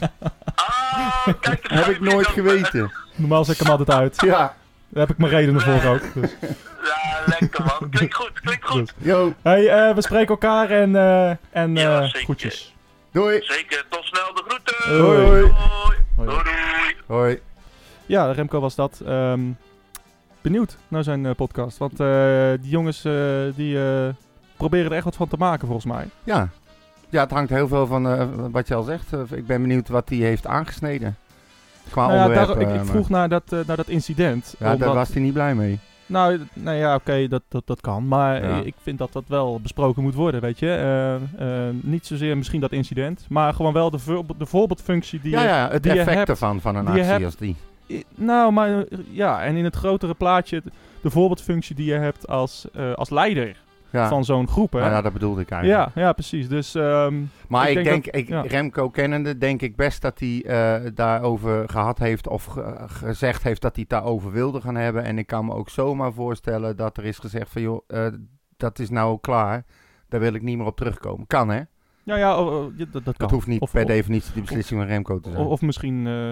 S6: Ah, kijk, de
S2: heb
S6: schuif
S2: ik
S6: is
S2: nooit
S6: open.
S2: geweten.
S1: Normaal zet ik hem altijd uit.
S2: Ja,
S1: Daar heb ik mijn redenen voor ook. Dus.
S6: Ja, lekker man. Klinkt goed, klinkt goed.
S2: yo,
S1: Hey, eh, we spreken elkaar en, eh, en
S6: Ja,
S1: eh,
S6: zeker.
S1: groetjes.
S2: doei.
S6: Zeker. Tot snel, de groeten.
S1: Hoi.
S6: Doei.
S1: Hoi.
S6: Doei. doei.
S2: Hoi.
S1: Ja, Remco was dat. Ehm, benieuwd naar zijn eh, podcast. Want eh, die jongens eh, die, eh, proberen er echt wat van te maken, volgens mij.
S2: Ja. ja, het hangt heel veel van eh, wat je al zegt. Eh, ik ben benieuwd wat hij heeft aangesneden. Qua
S1: Nou ja,
S2: onderwerp.
S1: daar- ik,
S2: eh,
S1: ik
S2: maar-
S1: vroeg naar dat, eh, naar dat incident.
S2: Ja, daar
S1: omdat-
S2: was hij niet blij mee.
S1: Nou, nou ja, oké, dat, dat, dat kan. Maar
S2: Ja.
S1: i- ik vind dat dat wel besproken moet worden, weet je. Eh, eh, niet zozeer misschien dat incident, maar gewoon wel de, voorbe- de voorbeeldfunctie die
S2: ja,
S1: je...
S2: ja, het
S1: die je
S2: effect
S1: hebt-
S2: ervan, van een
S1: die je
S2: actie
S1: hebt-
S2: als die.
S1: I- Nou, maar eh, ja, en in het grotere plaatje de- de voorbeeldfunctie die je hebt als, eh, als leider
S2: Ja.
S1: van zo'n groep, hè.
S2: Nou ja, dat bedoelde ik eigenlijk.
S1: ja, ja, precies. Dus ehm,
S2: Maar
S1: Ik
S2: ik,
S1: denk
S2: denk,
S1: dat-
S2: ik,
S1: ja.
S2: Remco kennende, denk ik best dat hij eh, daarover gehad heeft of ge- gezegd heeft dat hij het daarover wilde gaan hebben. En ik kan me ook zomaar voorstellen dat er is gezegd van joh, eh, dat is nou klaar. Daar wil ik niet meer op terugkomen. Kan hè?
S1: ja, ja, oh, oh, ja, dat, dat kan.
S2: Dat hoeft niet
S1: Of-
S2: per
S1: of-
S2: definitie de beslissing van Remco te
S1: O-
S2: zijn.
S1: Of misschien eh,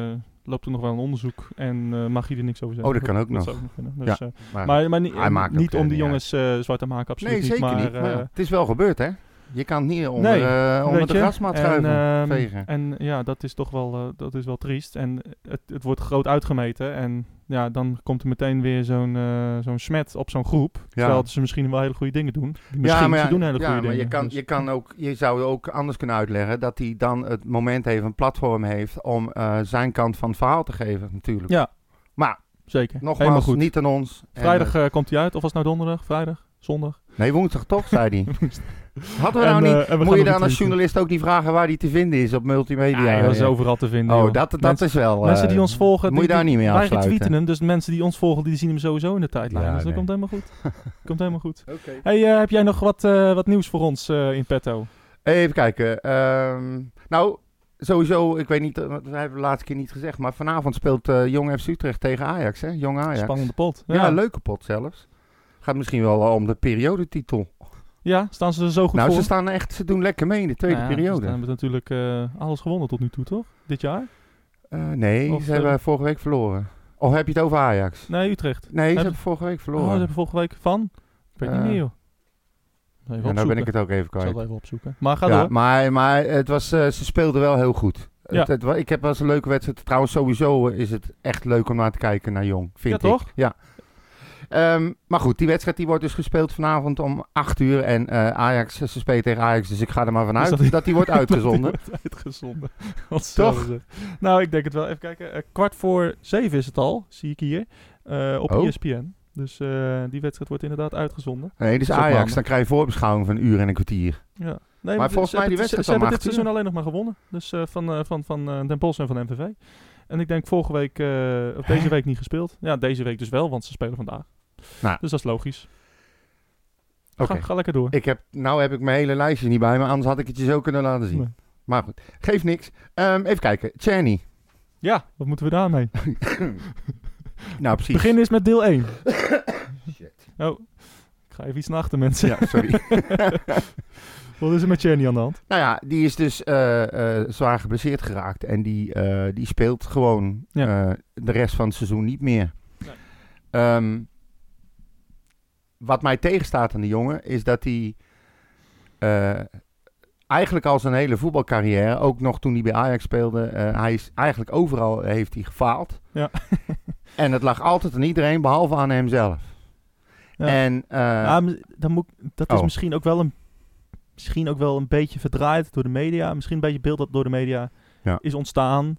S1: loopt er nog wel een onderzoek en eh, mag je er niks over zeggen.
S2: Oh, dat kan ook nog.
S1: zou kunnen. Dus,
S2: Ja,
S1: eh,
S2: maar,
S1: maar maar ni-
S2: Hij maakt
S1: niet
S2: ook, eh,
S1: om die
S2: niet
S1: jongens eh, zwart te maken, absoluut
S2: nee,
S1: niet.
S2: zeker
S1: maar,
S2: niet. Maar
S1: eh,
S2: het is wel gebeurd hè? Je kan niet onder,
S1: Nee,
S2: eh, onder
S1: weet
S2: de
S1: je,
S2: grasmat
S1: en,
S2: schuiven,
S1: ehm,
S2: vegen.
S1: En ja, dat is toch wel, eh, dat is wel triest. En het, het wordt groot uitgemeten. En ja, dan komt er meteen weer zo'n eh, zo'n smet op zo'n groep. Terwijl ze misschien wel hele goede dingen doen. Die Misschien ze doen hele
S2: ja,
S1: goede
S2: maar
S1: dingen.
S2: je, kan,
S1: dus-
S2: je, kan ook, je zou ook anders kunnen uitleggen dat hij dan het moment heeft, een platform heeft om eh, zijn kant van het verhaal te geven natuurlijk.
S1: Ja.
S2: Maar
S1: Zeker. Helemaal
S2: nogmaals,
S1: goed.
S2: niet aan ons. En,
S1: Vrijdag eh, komt hij uit. Of was het nou donderdag? Vrijdag? Zondag?
S2: eh, nee, woensdag toch, zei hij. Hadden we nou
S1: En,
S2: niet...
S1: eh, en we gaan
S2: moet je
S1: hem
S2: dan als
S1: retweeten.
S2: journalist ook niet vragen waar hij te vinden is op multimedia?
S1: Ja, dat is
S2: Eh,
S1: overal te vinden.
S2: Oh,
S1: joh.
S2: dat, dat
S1: mensen,
S2: is wel... eh,
S1: mensen die ons volgen,
S2: Moet je
S1: die-
S2: daar niet mee
S1: wij
S2: afsluiten.
S1: retweeten hem, dus de mensen die ons volgen, die zien hem sowieso in de tijdlijn.
S2: Ja,
S1: dus dat
S2: nee.
S1: komt helemaal goed. komt helemaal goed. Hey, eh, heb jij nog wat, eh, wat nieuws voor ons eh, in
S2: Oh,
S1: petto?
S2: Even kijken. ehm, nou, sowieso, ik weet niet, eh, want we hebben de laatste keer niet gezegd, maar vanavond speelt eh, Jong FC Utrecht tegen Ajax, hè? Jong Ajax.
S1: Spannende pot.
S2: Ja, leuke pot zelfs. Gaat misschien wel eh, om de periodetitel.
S1: Ja, staan ze er zo goed
S2: Nou,
S1: voor?
S2: ze staan echt, ze doen lekker mee in de tweede
S1: Nou ja,
S2: periode.
S1: Ze hebben natuurlijk eh, alles gewonnen tot nu toe, toch? Dit jaar?
S2: Eh, nee,
S1: Of,
S2: ze hebben
S1: eh,
S2: vorige week verloren. Of heb je het over Ajax?
S1: Nee, Utrecht.
S2: Nee, ze
S1: Hebben-
S2: hebben vorige week
S1: Oh, ze
S2: verloren.
S1: hebben vorige week van? Ik weet niet
S2: Eh,
S1: meer, joh. Even
S2: en
S1: opzoeken.
S2: nou ben ik het ook even
S1: zal
S2: kwijt.
S1: het even opzoeken. Maar ga
S2: Ja,
S1: door.
S2: maar maar het was, eh, ze speelden wel heel goed.
S1: Ja.
S2: Het, het wa- ik heb wel eens een leuke wedstrijd. Trouwens, sowieso eh, is het echt leuk om naar te kijken naar Jong, vind
S1: Ja,
S2: ik.
S1: toch?
S2: Ja. Ehm, maar goed, die wedstrijd die wordt dus gespeeld vanavond om 8 uur. En eh, Ajax, ze spelen tegen Ajax, dus ik ga er maar vanuit
S1: dat
S2: dat,
S1: die-
S2: die wordt uitgezonden.
S1: Dat die wordt uitgezonden. Wat toch? Nou, ik denk het wel. Even kijken. Eh, kwart voor zeven is het al, zie ik hier. eh, op
S2: Oh.
S1: ESPN. Dus eh, die wedstrijd wordt inderdaad uitgezonden.
S2: Nee, dus
S1: Dat is ook
S2: Ajax,
S1: handig.
S2: dan krijg je voorbeschouwing van een uur en een kwartier.
S1: Ja. Nee,
S2: Maar
S1: ze-
S2: volgens
S1: ze hebben
S2: mij die
S1: dit- ze-
S2: wedstrijd
S1: Ze
S2: om
S1: hebben dit
S2: 8 uur.
S1: seizoen alleen nog maar gewonnen. Dus eh, van, eh, van, van eh Den Bosch en van MVV. En ik denk vorige week, eh, of deze week niet gespeeld. Ja, deze week dus wel, want ze spelen vandaag.
S2: Nou.
S1: Dus dat is logisch.
S2: Oké.
S1: Ga, ga lekker door.
S2: Ik heb, nou heb ik mijn hele lijstje niet bij me, anders had ik het je zo kunnen laten zien.
S1: Nee.
S2: Maar goed, geeft niks. Ehm, even kijken, Channy.
S1: Ja, wat moeten we daarmee?
S2: Nou, precies.
S1: Begin eens met deel 1.
S2: Shit.
S1: Oh, ik ga even iets naar achter, mensen.
S2: Ja, sorry.
S1: Wat is er met Jenny aan de hand?
S2: Nou ja, die is dus eh, eh, zwaar geblesseerd geraakt. En die, eh, die speelt gewoon
S1: Ja.
S2: eh, de rest van het seizoen niet meer.
S1: Nee.
S2: Ehm, wat mij tegenstaat aan de jongen is dat hij eh, eigenlijk al zijn hele voetbalcarrière, ook nog toen hij bij Ajax speelde, eh, hij is eigenlijk overal heeft hij gefaald.
S1: Ja.
S2: en het lag altijd aan iedereen, behalve aan hemzelf.
S1: Ja.
S2: En eh,
S1: Ja, maar dan moet, ik- dat is
S2: Oh.
S1: misschien, ook wel een, misschien ook wel een beetje verdraaid door de media. Misschien een beetje beeld dat door de media
S2: Ja.
S1: is ontstaan.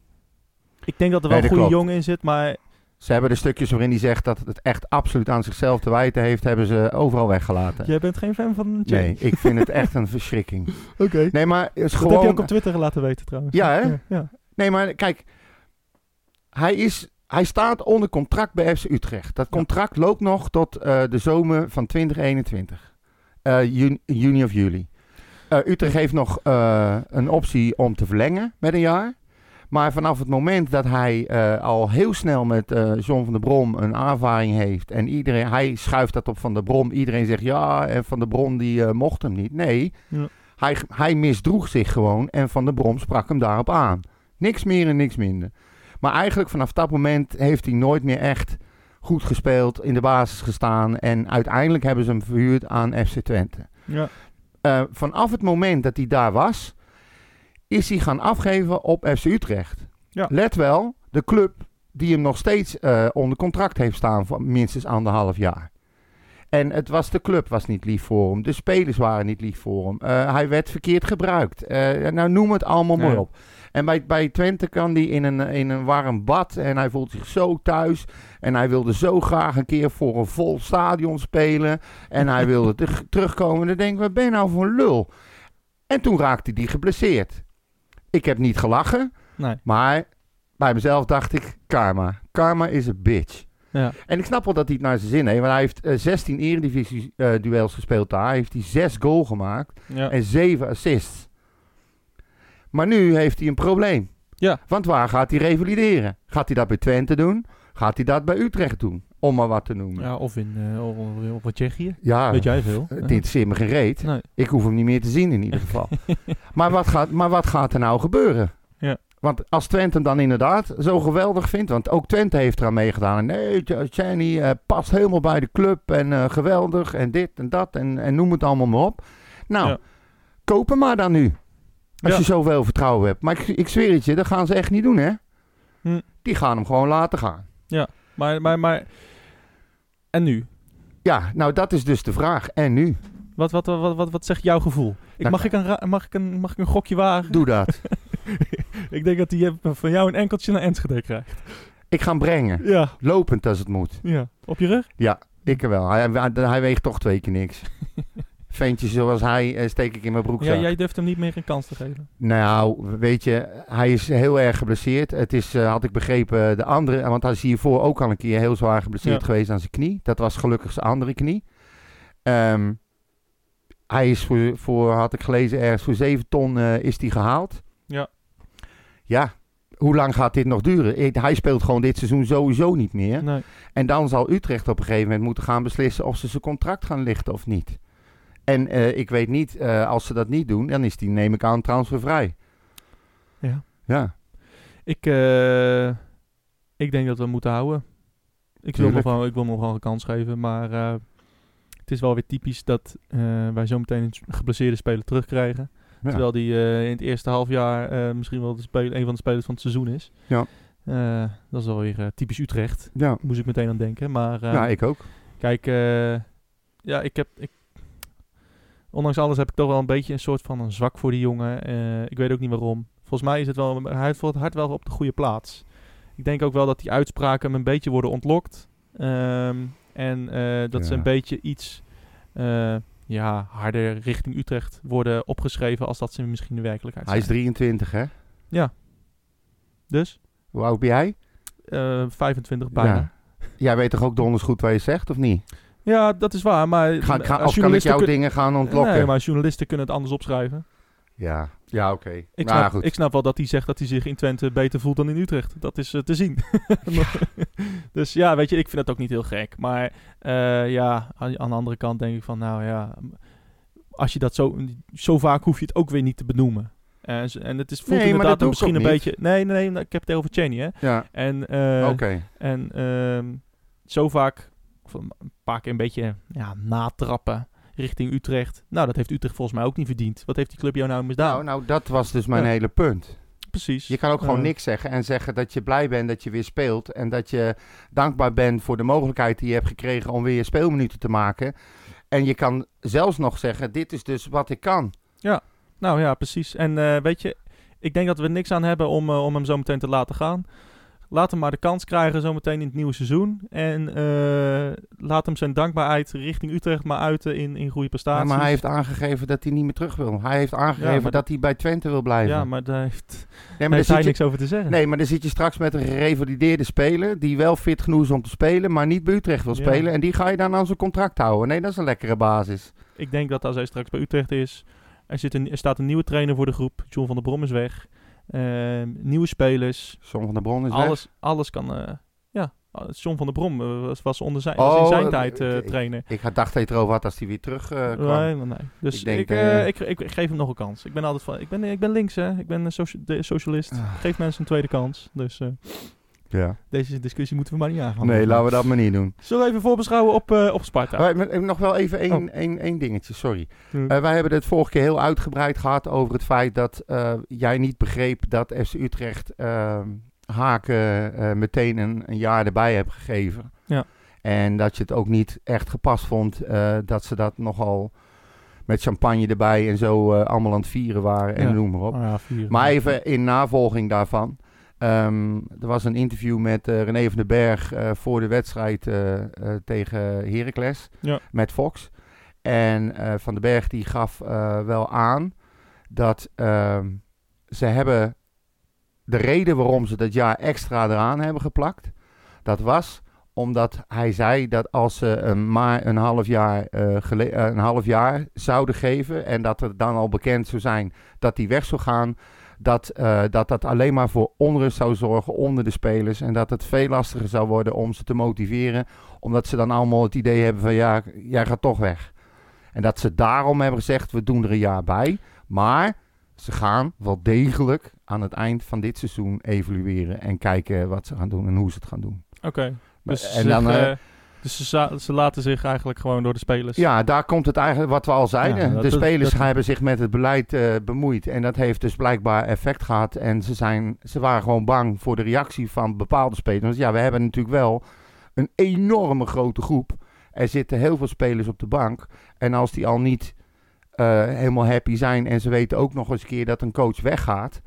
S1: Ik denk dat er wel
S2: Nee,
S1: een
S2: dat
S1: goede
S2: klopt.
S1: jongen in zit, maar
S2: Ze hebben de stukjes waarin hij zegt dat het echt absoluut aan zichzelf te wijten heeft, hebben ze overal weggelaten.
S1: jij bent geen fan van Jenny.
S2: nee, ik vind het echt een verschrikking.
S1: Oké.
S2: Nee, maar het is
S1: Dat heb je ook
S2: gewoon.
S1: op Twitter laten weten trouwens.
S2: Ja, hè?
S1: Ja, ja.
S2: Nee, maar kijk, hij is. Hij staat onder contract bij FC Utrecht. Dat contract loopt nog tot eh, de zomer van 2021. Eh, juni, juni of juli. Eh, Utrecht heeft nog eh, een optie om te verlengen met een jaar. Maar vanaf het moment dat hij eh, al heel snel met eh John van der Brom een aanvaring heeft. En iedereen, hij schuift dat op Van der Brom. Iedereen zegt ja, en Van der Brom die eh, mocht hem niet. Nee,
S1: Ja.
S2: hij, hij misdroeg zich gewoon en Van der Brom sprak hem daarop aan. Niks meer en niks minder. Maar eigenlijk vanaf dat moment heeft hij nooit meer echt goed gespeeld, in de basis gestaan. En uiteindelijk hebben ze hem verhuurd aan FC Twente.
S1: Ja.
S2: Eh, vanaf het moment dat hij daar was, is hij gaan afgeven op FC Utrecht.
S1: Ja.
S2: Let wel, de club die hem nog steeds eh, onder contract heeft staan voor minstens anderhalf jaar. En het was de club was niet lief voor hem. De spelers waren niet lief voor hem. Eh, hij werd verkeerd gebruikt. Eh, nou, noem het allemaal maar
S1: Ja.
S2: op. En bij, bij Twente kan hij in een, in een warm bad. En hij voelt zich zo thuis. En hij wilde zo graag een keer voor een vol stadion spelen. En hij wilde terug- terugkomen. En dan denk ik, wat ben je nou voor een lul? En toen raakte hij geblesseerd. Ik heb niet gelachen.
S1: Nee.
S2: Maar bij mezelf dacht ik, karma. Karma is a bitch.
S1: Ja.
S2: En ik snap wel dat hij het naar zijn zin heeft. Want hij heeft eh, 16 eredivisie-duels gespeeld daar. Hij heeft hij 6 goal gemaakt
S1: Ja.
S2: en 7 assists. Maar nu heeft hij een probleem.
S1: Ja.
S2: Want waar gaat hij revalideren? Gaat hij dat bij Twente doen? Gaat hij dat bij Utrecht doen? Om maar wat te noemen.
S1: ja, of in eh, of- of wat Tsjechië.
S2: Ja,
S1: Weet jij veel?
S2: Eh, het interesseert me geen reet.
S1: Nee.
S2: Ik hoef hem niet meer te zien in ieder geval. maar, wat gaat, maar wat gaat er nou gebeuren?
S1: Ja.
S2: Want als Twente hem dan inderdaad zo geweldig vindt, want ook Twente heeft eraan meegedaan. En nee, Chani eh, past helemaal bij de club en eh, geweldig en dit en dat en, en noem het allemaal maar op. Nou,
S1: Ja.
S2: koop hem maar dan nu. Als
S1: Ja.
S2: je zoveel vertrouwen hebt. Maar ik, ik zweer het je, dat gaan ze echt niet doen hè.
S1: Hm.
S2: Die gaan hem gewoon laten gaan.
S1: Maar, maar, maar... En nu?
S2: Ja, nou dat is dus de vraag. En nu?
S1: Wat, wat, wat, wat, wat, wat zegt jouw gevoel? Ik,
S2: Nou,
S1: mag, ik een ra- mag, ik een, mag ik een gokje wagen?
S2: Doe dat.
S1: Ik denk dat hij van jou een enkeltje naar Enschede krijgt.
S2: ik ga hem brengen.
S1: Ja,
S2: Lopend als het moet.
S1: ja. Op je rug?
S2: Ik wel. Hij, hij, hij weegt toch twee keer niks. Ventje zoals hij eh, steek ik in mijn broekzak.
S1: Ja, jij durft hem niet meer een kans te geven.
S2: Nou, weet je, hij is heel erg geblesseerd. Het is, eh, had ik begrepen, de andere... Want hij is hiervoor ook al een keer heel zwaar geblesseerd
S1: Ja.
S2: geweest aan zijn knie. Dat was gelukkig zijn andere knie. Ehm, hij is voor, voor, had ik gelezen, ergens voor 7 ton eh, is hij gehaald.
S1: Ja.
S2: Ja, hoe lang gaat dit nog duren? Ik- hij speelt gewoon dit seizoen sowieso niet meer.
S1: Nee.
S2: En dan zal Utrecht op een gegeven moment moeten gaan beslissen of ze zijn contract gaan lichten of niet. En eh, ik weet niet, eh, als ze dat niet doen, dan is die, neem ik aan, transfervrij.
S1: Ja.
S2: Ja,
S1: Ik, eh, ik denk dat we hem moeten houden. Ik wil, nog
S2: Tuurlijk.
S1: wel, ik wil hem nog wel een kans geven, maar eh, het is wel weer typisch dat eh, wij zo meteen een s- geblesseerde speler terugkrijgen.
S2: Ja.
S1: Terwijl die eh, in het eerste halfjaar eh, misschien wel de speler, een van de spelers van het seizoen is.
S2: Ja.
S1: Eh, dat is wel weer eh, typisch Utrecht.
S2: ja.
S1: Moest ik meteen aan denken. Maar eh,
S2: ja Nou, ik ook.
S1: kijk, eh, ja, ik heb. Ik, ondanks alles heb ik toch wel een beetje een soort van een zwak voor die jongen. Eh, ik weet ook niet waarom. Volgens mij is het wel. Hij heeft voor het hart wel op de goede plaats. Ik denk ook wel dat die uitspraken hem een beetje worden ontlokt. Ehm, en eh, dat ze
S2: Ja.
S1: een beetje iets eh, ja, harder richting Utrecht worden opgeschreven als dat ze misschien de werkelijkheid
S2: Hij is
S1: zijn.
S2: 23, hè?
S1: Dus
S2: Hoe oud ben jij?
S1: eh, 25 bijna. Ja.
S2: Ja. Jij weet toch ook donders goed wat je zegt, of niet?
S1: dat is waar. Maar
S2: Ga,
S1: als
S2: ga, of kan ik
S1: journalisten
S2: jouw
S1: kun-
S2: dingen gaan ontlokken?
S1: Nee, maar journalisten kunnen het anders opschrijven.
S2: Ja, ja oké.
S1: Ik,
S2: Nou,
S1: snap,
S2: goed.
S1: ik snap wel dat hij zegt dat hij zich in Twente beter voelt dan in Utrecht. Dat is eh, te zien. dus ja, weet je, ik vind dat ook niet heel gek. Maar eh, ja, aan, aan de andere kant denk ik van, nou ja, als je dat zo, zo vaak hoef je het ook weer niet te benoemen. En, z- en het is, voelt
S2: Nee, maar dat
S1: inderdaad
S2: doe
S1: dan
S2: ik
S1: misschien een
S2: ook niet.
S1: beetje... Nee, nee, nee, ik heb het over Cheney, hè.
S2: Ja,
S1: En, eh,
S2: oké.
S1: en ehm, zo vaak, of een paar keer een beetje ja, natrappen richting Utrecht. Nou, dat heeft Utrecht volgens mij ook niet verdiend. Wat heeft die club jou nou misdaan?
S2: Nou, nou, dat was dus mijn
S1: Ja.
S2: hele punt.
S1: Precies.
S2: Je kan ook gewoon
S1: Eh,
S2: niks zeggen en zeggen dat je blij bent dat je weer speelt. En dat je dankbaar bent voor de mogelijkheid die je hebt gekregen om weer je speelminuten te maken. En je kan zelfs nog zeggen, dit is dus wat ik kan.
S1: Nou ja, precies. En eh, weet je, ik denk dat we niks aan hebben om, eh, om hem zo meteen te laten gaan. Laat hem maar de kans krijgen zometeen in het nieuwe seizoen. En eh, laat hem zijn dankbaarheid richting Utrecht maar uiten in, in goede
S2: Ja,
S1: prestaties.
S2: maar hij heeft aangegeven dat hij niet meer terug wil. Hij heeft aangegeven
S1: Ja, maar-
S2: dat hij bij Twente wil blijven.
S1: Ja, maar daar heeft,
S2: nee,
S1: daar
S2: maar
S1: heeft
S2: dan
S1: hij
S2: zit
S1: niks
S2: je,
S1: over te zeggen.
S2: nee, maar dan zit je straks met een gerevalideerde speler die wel fit genoeg is om te spelen, maar niet bij Utrecht wil
S1: Ja.
S2: spelen. En die ga je dan aan zijn contract houden. Nee, dat is een lekkere basis.
S1: Ik denk dat als hij straks bij Utrecht is, er, zit een, er staat een nieuwe trainer voor de groep. John van der Brom is weg. Ehm, nieuwe spelers.
S2: Som van de Bron is weg.
S1: Alles, alles kan... eh, ja, John van der Brom eh, was, was, onder zijn, was in
S2: Oh,
S1: zijn
S2: eh,
S1: tijd eh,
S2: ik- ik-
S1: trainer.
S2: Ik had- dacht dat je het erover had als hij weer terug eh, kwam.
S1: Nee, nee, nee. Dus ik,
S2: Ik denk,
S1: eh,
S2: eh,
S1: ik, ik, ik geef hem nog een kans. Ik ben altijd van. Ik ben, ik ben links, hè? Ik ben een socia- de- socialist.
S2: Ah.
S1: Geef mensen een tweede kans. Dus eh,
S2: Ja.
S1: deze discussie moeten we maar niet aangaan.
S2: Nee, laten we dat maar niet doen.
S1: Zullen we even voorbeschouwen op, eh, op Sparta?
S2: Maar, maar, eh, nog wel even één
S1: Oh.
S2: één- één dingetje, sorry.
S1: Hm.
S2: Eh, wij hebben het vorige keer heel uitgebreid gehad over het feit dat eh, jij niet begreep dat ehm, FC Utrecht eh, Haken eh, meteen een, een jaar erbij hebt gegeven.
S1: Ja.
S2: En dat je het ook niet echt gepast vond eh, dat ze dat nogal met champagne erbij en zo eh, allemaal aan het vieren waren en
S1: Ja.
S2: noem maar op.
S1: Nou ja, vier.
S2: Maar even in navolging daarvan. Ehm, er was een interview met eh, René van den Berg eh, voor de wedstrijd eh, eh, tegen Heracles
S1: Ja.
S2: met Fox. En eh, Van den Berg die gaf eh, wel aan dat ehm, ze hebben de reden waarom ze dat jaar extra eraan hebben geplakt. Dat was omdat hij zei dat als ze een, maar een, half jaar, eh, gele- eh, een half jaar zouden geven en dat er dan al bekend zou zijn dat die weg zou gaan, dat, eh, dat dat alleen maar voor onrust zou zorgen onder de spelers. En dat het veel lastiger zou worden om ze te motiveren. Omdat ze dan allemaal het idee hebben van ja, jij gaat toch weg. En dat ze daarom hebben gezegd, we doen er een jaar bij. Maar ze gaan wel degelijk aan het eind van dit seizoen evalueren. En kijken wat ze gaan doen en hoe ze het gaan doen.
S1: Oké. Dus,
S2: En
S1: ze
S2: dan,
S1: zeggen,
S2: eh,
S1: eh, dus ze, za- ze laten zich eigenlijk gewoon door de spelers.
S2: Ja, daar komt het eigenlijk wat we al zeiden.
S1: Dus- Ja, dat-
S2: de
S1: dat-
S2: spelers
S1: dat-
S2: hebben zich met het beleid eh, bemoeid. En dat heeft dus blijkbaar effect gehad. En ze, zijn, ze waren gewoon bang voor de reactie van bepaalde spelers. Want ja, we hebben natuurlijk wel een enorme grote groep. Er zitten heel veel spelers op de bank. En als die al niet eh, helemaal happy zijn. En ze weten ook nog eens een keer dat een coach weggaat.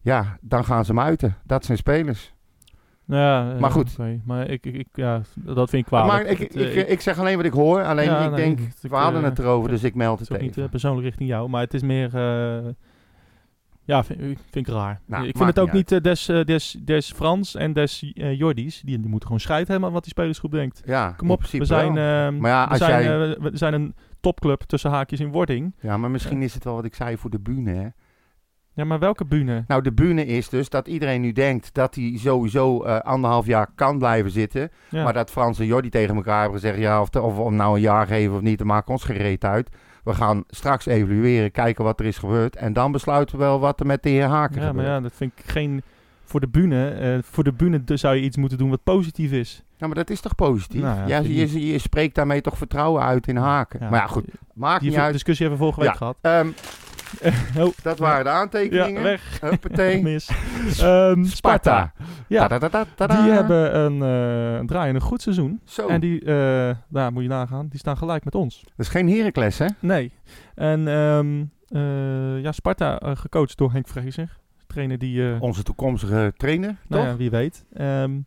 S2: Ja, dan gaan ze hem uiten. Dat zijn spelers.
S1: Ja, eh,
S2: Maar goed.
S1: oké. Maar ik, ik, ik- ja, dat vind ik kwalijk.
S2: Maar ik, ik,
S1: Het, eh,
S2: ik, zeg alleen wat ik hoor. Alleen
S1: Ja,
S2: ik
S1: nee,
S2: denk,
S1: het- ik,
S2: we hadden
S1: eh,
S2: het erover,
S1: vind-
S2: dus ik meld
S1: Het
S2: het
S1: is ook niet
S2: even.
S1: eh, persoonlijk richting jou, maar het is meer. eh, ja, vind, ik vind ik raar.
S2: Nou,
S1: ik vind
S2: maakt
S1: het ook
S2: niet
S1: niet eh, des, eh, des, des Frans en des eh, Jordis. Die, die moeten gewoon scheid hebben aan wat die spelersgroep denkt.
S2: ja,
S1: Kom
S2: in
S1: op,
S2: principe
S1: we zijn,
S2: wel.
S1: ehm,
S2: Maar ja,
S1: we,
S2: als
S1: zijn
S2: jij-
S1: eh, we- we zijn een topclub tussen haakjes in wording.
S2: Ja, maar
S1: eh,
S2: misschien is het wel wat ik zei voor de bühne. Hè?
S1: Ja, maar welke bühne?
S2: Nou, de bühne is dus dat iedereen nu denkt dat hij sowieso eh, anderhalf jaar kan blijven zitten.
S1: Ja.
S2: Maar dat Frans en Jordi tegen elkaar hebben gezegd: ja, of, te- of we hem nou een jaar geven of niet, dat maakt ons gereed uit. We gaan straks evalueren, kijken wat er is gebeurd. En dan besluiten we wel wat er met de heer Haken
S1: ja, maar
S2: gebeurt.
S1: ja, dat vind ik geen. Voor de bühne, eh, voor de bühne dus zou je iets moeten doen wat positief is.
S2: Nou, maar dat is toch positief?
S1: Nou ja,
S2: ja,
S1: vind
S2: je, je, je spreekt daarmee toch vertrouwen uit in Haken.
S1: Ja.
S2: Maar ja, goed, maakt
S1: Die
S2: niet uit.
S1: discussie hebben we vorige week
S2: Ja.
S1: gehad.
S2: Ehm,
S1: Oh,
S2: dat waren de
S1: ja,
S2: aantekeningen.
S1: weg.
S2: Huppatee.
S1: Mis. Ehm,
S2: Sparta.
S1: Ja.
S2: Tadadadadada.
S1: Die hebben een, eh een draai en een goed seizoen.
S2: Zo,
S1: En die, eh nou moet je nagaan, die staan gelijk met ons.
S2: dat is geen Heracles, hè?
S1: Nee. En ehm, eh, ja, Sparta eh, gecoacht door Henk Vrezer. Trainer die, eh,
S2: Onze toekomstige trainer,
S1: nou
S2: Oh, toch?
S1: ja, wie weet. Ehm,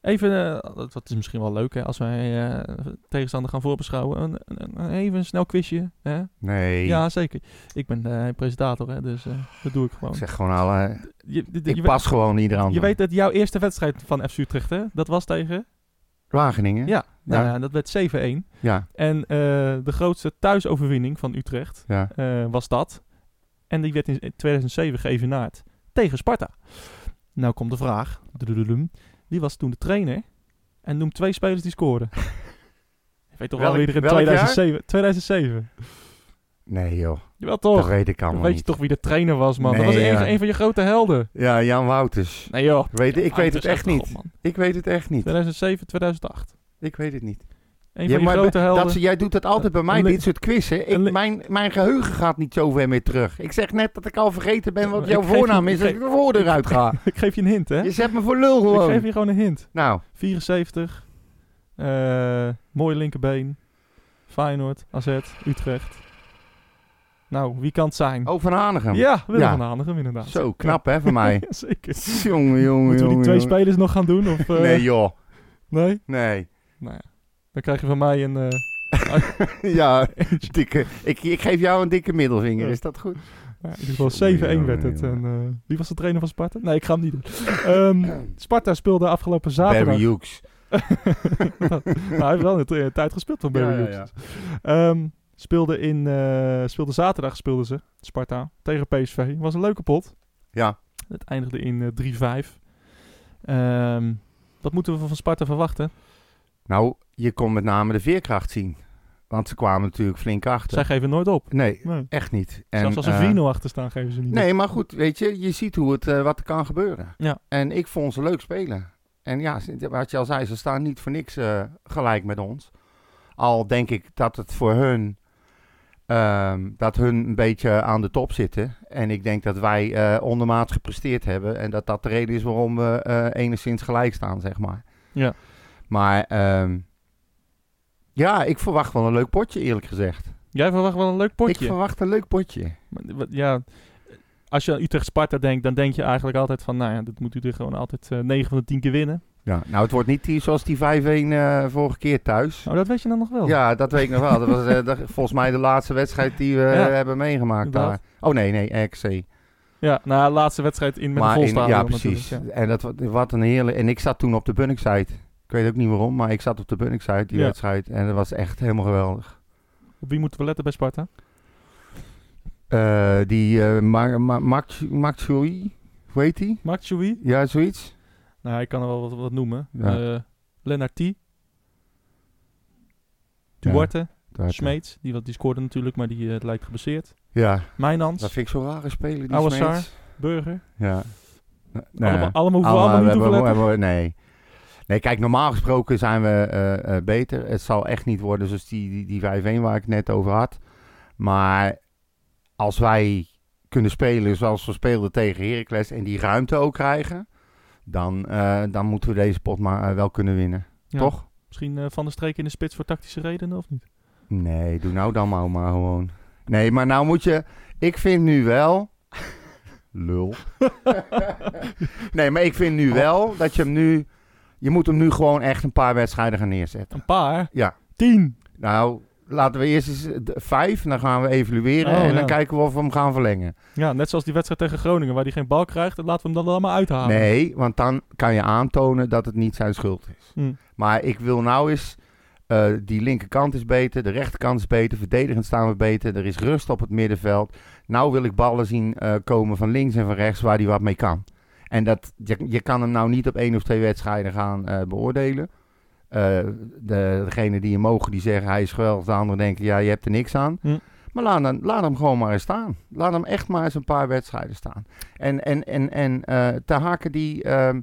S1: even, eh, dat, dat is misschien wel leuk hè, als wij eh tegenstander gaan voorbeschouwen. Een, een- een- even een snel quizje. Hè?
S2: Nee,
S1: Ja, zeker. Ik ben eh, presentator, hè, dus eh, dat doe ik gewoon.
S2: ik zeg gewoon al, eh,
S1: Je, d- d-
S2: ik
S1: je weet-
S2: pas gewoon ieder ander.
S1: je weet dat jouw eerste wedstrijd van FC Utrecht, hè? Dat was tegen?
S2: Wageningen?
S1: Ja. Nou,
S2: Ja.
S1: ja, dat werd 7-1.
S2: Ja,
S1: En eh, de grootste thuisoverwinning van Utrecht
S2: ja.
S1: eh, was dat. En die werd in 2007 geëvenaard tegen Sparta. Nou komt de vraag. Dududududu. Wie was toen de trainer? En noem twee spelers die scoorden. Je weet toch wel
S2: Welk-
S1: wie er in
S2: welk jaar?
S1: 2007... 2007.
S2: Nee joh,
S1: Jawel
S2: dat
S1: toch?
S2: weet ik
S1: Dan
S2: allemaal
S1: weet je
S2: niet.
S1: toch wie de trainer was, man. dat
S2: Nee,
S1: was een,
S2: ja.
S1: een van je grote helden.
S2: Ja, Jan Wouters.
S1: Nee joh.
S2: Weet, ik weet
S1: Anders
S2: het echt niet.
S1: God, man.
S2: Ik weet het echt niet.
S1: 2007, 2008.
S2: Ik weet het niet.
S1: Een
S2: Ja,
S1: van je
S2: maar
S1: grote
S2: dat-
S1: helden.
S2: dat, jij doet dat altijd bij mij,
S1: Een li-
S2: dit soort quizzen. Ik,
S1: een li-
S2: mijn, mijn geheugen gaat niet zo ver meer terug. Ik zeg net dat ik al vergeten ben wat
S1: Ik
S2: jouw
S1: geef je-
S2: voornaam is
S1: ik
S2: als
S1: geef-
S2: ik de woorden eruit ga.
S1: Ik geef je een hint, hè?
S2: Je zet me voor lul
S1: Ik geef
S2: gewoon.
S1: je gewoon een hint.
S2: Nou,
S1: 74. eh mooi linkerbeen. Feyenoord, AZ, Utrecht. Nou, wie kan het zijn?
S2: over Hanegem.
S1: ja, Willem
S2: Oh, ja.
S1: van Hanegem inderdaad.
S2: Zo, knap hè, van mij.
S1: Ja, zeker.
S2: jongen, jongen,
S1: Moeten we die
S2: jongen,
S1: twee
S2: jongen.
S1: spelers nog gaan doen? Of, eh,
S2: Nee joh,
S1: nee?
S2: nee.
S1: Nou ja, dan krijg je van mij een... eh,
S2: ja, dikke. Ik, ik geef jou een dikke middelvinger,
S1: Ja.
S2: is dat goed?
S1: nou ja, in ieder
S2: Jongen,
S1: geval 7-1 werd het. En,
S2: jongen.
S1: eh, wie was de trainer van Sparta? Nee, ik ga hem niet doen. Ehm, Sparta speelde afgelopen zaterdag...
S2: Barry Hughes.
S1: nou, hij heeft wel een t- tijd gespeeld van Barry
S2: Ja, ja,
S1: Hughes. Ehm, speelde, in, eh, speelde zaterdag speelden ze, Sparta, tegen PSV. Was een leuke pot.
S2: Ja,
S1: Het eindigde in eh, 3-5. Ehm, wat moeten we van Sparta verwachten?
S2: nou, je kon met name de veerkracht zien. Want ze kwamen natuurlijk flink achter.
S1: Zij geven nooit op.
S2: Nee,
S1: Nee.
S2: echt niet.
S1: Zelfs als
S2: eh,
S1: er 4-0 achter staan, geven ze niet op.
S2: Nee, maar goed, weet je, je ziet hoe het, eh, wat er kan gebeuren.
S1: Ja.
S2: En ik vond ze leuk spelen. En ja, ze- wat je al zei, ze staan niet voor niks eh, gelijk met ons. Al denk ik dat het voor hun, ehm, dat hun een beetje aan de top zitten. En ik denk dat wij eh, ondermaats gepresteerd hebben. En dat dat de reden is waarom we eh, enigszins gelijk staan, zeg maar.
S1: Ja.
S2: Maar ehm, Ja, ik verwacht wel een leuk potje, eerlijk gezegd.
S1: Jij verwacht wel een leuk potje.
S2: Ik verwacht een leuk potje.
S1: Maar wat- Ja, als je aan Utrecht-Sparta denkt, dan denk je eigenlijk altijd van... Nou ja, dat moet Utrecht gewoon altijd eh 9 van de 10 keer winnen.
S2: Ja, nou, het wordt niet die, zoals die 5-1 eh, vorige keer thuis.
S1: Nou, dat weet je dan nog wel.
S2: Ja, dat weet ik nog wel. Dat was eh, dat- volgens mij de laatste wedstrijd die we eh,
S1: Ja.
S2: hebben meegemaakt
S1: Inderdaad.
S2: daar. Oh nee, nee, RKC.
S1: Ja, na de laatste wedstrijd in met een
S2: Maar
S1: vol
S2: in-
S1: stadion
S2: ja,
S1: natuurlijk,
S2: precies.
S1: ja.
S2: En dat, wa- wat een heerlijk... En ik zat toen op de Bunningside. Ik weet ook niet waarom, maar ik zat op de Bunningside, die
S1: Ja.
S2: wedstrijd. En dat was echt helemaal geweldig.
S1: Op wie moeten we letten bij Sparta?
S2: Eh, die eh Ma- Ma- Max- Max Hui, hoe heet die?
S1: Mark Chouy?
S2: Ja, zoiets.
S1: Nou, ik kan er wel wat, wat noemen.
S2: Ja.
S1: Eh Lennart T. Duarte,
S2: Daar-
S1: Smeets, die, wat- die scoorde natuurlijk, maar die eh, lijkt geblesseerd.
S2: Ja, dat
S1: Mijnans,
S2: vind ik zo'n rare speler, die
S1: Awassar.
S2: Smeets.
S1: Burger.
S2: Ja. Nou,
S1: allemaal, allemaal hoeven we allemaal
S2: Oh, we
S1: niet
S2: hebben-
S1: hoeven letten.
S2: we hebben- nee. Nee, kijk, normaal gesproken zijn we eh, eh, beter. Het zal echt niet worden zoals die, die, die 5-1 waar ik het net over had. Maar als wij kunnen spelen zoals we speelden tegen Heracles en die ruimte ook krijgen, dan, eh, dan moeten we deze pot maar eh, wel kunnen winnen.
S1: Ja.
S2: Toch?
S1: Misschien eh, Van der Streek in de spits voor tactische redenen, of niet?
S2: Nee, doe nou dan maar, maar gewoon. Nee, maar nou moet je... Ik vind nu wel... Lul. nee, maar ik vind nu
S1: Oh.
S2: wel dat je hem nu... Je moet hem nu gewoon echt een paar wedstrijden gaan neerzetten.
S1: Een paar?
S2: Ja.
S1: Tien?
S2: Nou, laten we eerst eens eh, d- vijf, dan gaan we evalueren
S1: Oh,
S2: en
S1: ja.
S2: dan kijken we of we hem gaan verlengen.
S1: Ja, net zoals die wedstrijd tegen Groningen, waar hij geen bal krijgt. dan Laten we hem dan allemaal uithalen.
S2: Nee, want dan kan je aantonen dat het niet zijn schuld is.
S1: Hm.
S2: Maar ik wil nou eens... eh, die linkerkant is beter, de rechterkant is beter, verdedigend staan we beter, er is rust op het middenveld. Nou wil ik ballen zien eh, komen van links en van rechts waar hij wat mee kan. En dat, je, je kan hem nou niet op één of twee wedstrijden gaan eh, beoordelen. Eh de, degene die hem mogen, die zeggen hij is geweldig. De anderen denken, ja, je hebt er niks aan.
S1: Hm.
S2: Maar laat, hem- laat hem gewoon maar eens staan. Laat hem echt maar eens een paar wedstrijden staan. En, en, en, en eh, te haken die... ehm,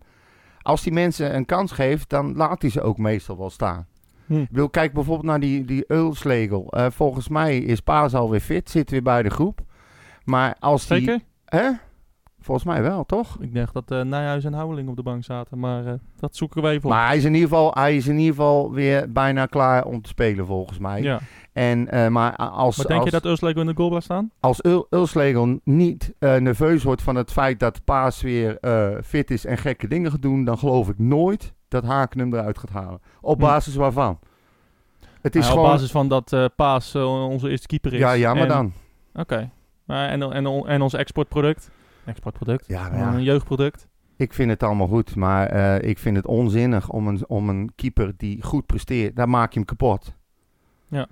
S2: als die mensen een kans geeft, dan laat hij ze ook meestal wel staan.
S1: Hm.
S2: Ik bedoel, kijk bijvoorbeeld naar die, die Ulslegel. Eh, volgens mij is Paas alweer fit, zit weer bij de groep. Maar als die...
S1: Zeker?
S2: Hè? Volgens mij wel, toch?
S1: Ik dacht dat eh Nijhuis en Houweling op de bank zaten, maar eh, dat zoeken wij even op.
S2: Maar hij is, in ieder geval, hij is in ieder geval weer bijna klaar om te spelen, volgens mij.
S1: ja.
S2: En, eh, maar a- als,
S1: maar denk
S2: als,
S1: je dat Özlego in de goal blijft staan?
S2: als Ul- Ulslegel niet eh, nerveus wordt van het feit dat Paas weer eh, fit is en gekke dingen gaat doen, dan geloof ik nooit dat Haken hem eruit gaat halen. Op
S1: Hm.
S2: basis waarvan? Het is
S1: Ja,
S2: gewoon...
S1: Nou, Op basis van dat eh, Paas eh, onze eerste keeper is.
S2: Ja, ja, maar
S1: En-
S2: dan.
S1: Oké. Maar en, en, en, ons exportproduct? Exportproduct?
S2: Ja, maar ja.
S1: Een jeugdproduct?
S2: Ik vind het allemaal goed, maar eh, ik vind het onzinnig om een, om een keeper die goed presteert, daar maak je hem kapot.
S1: Ja.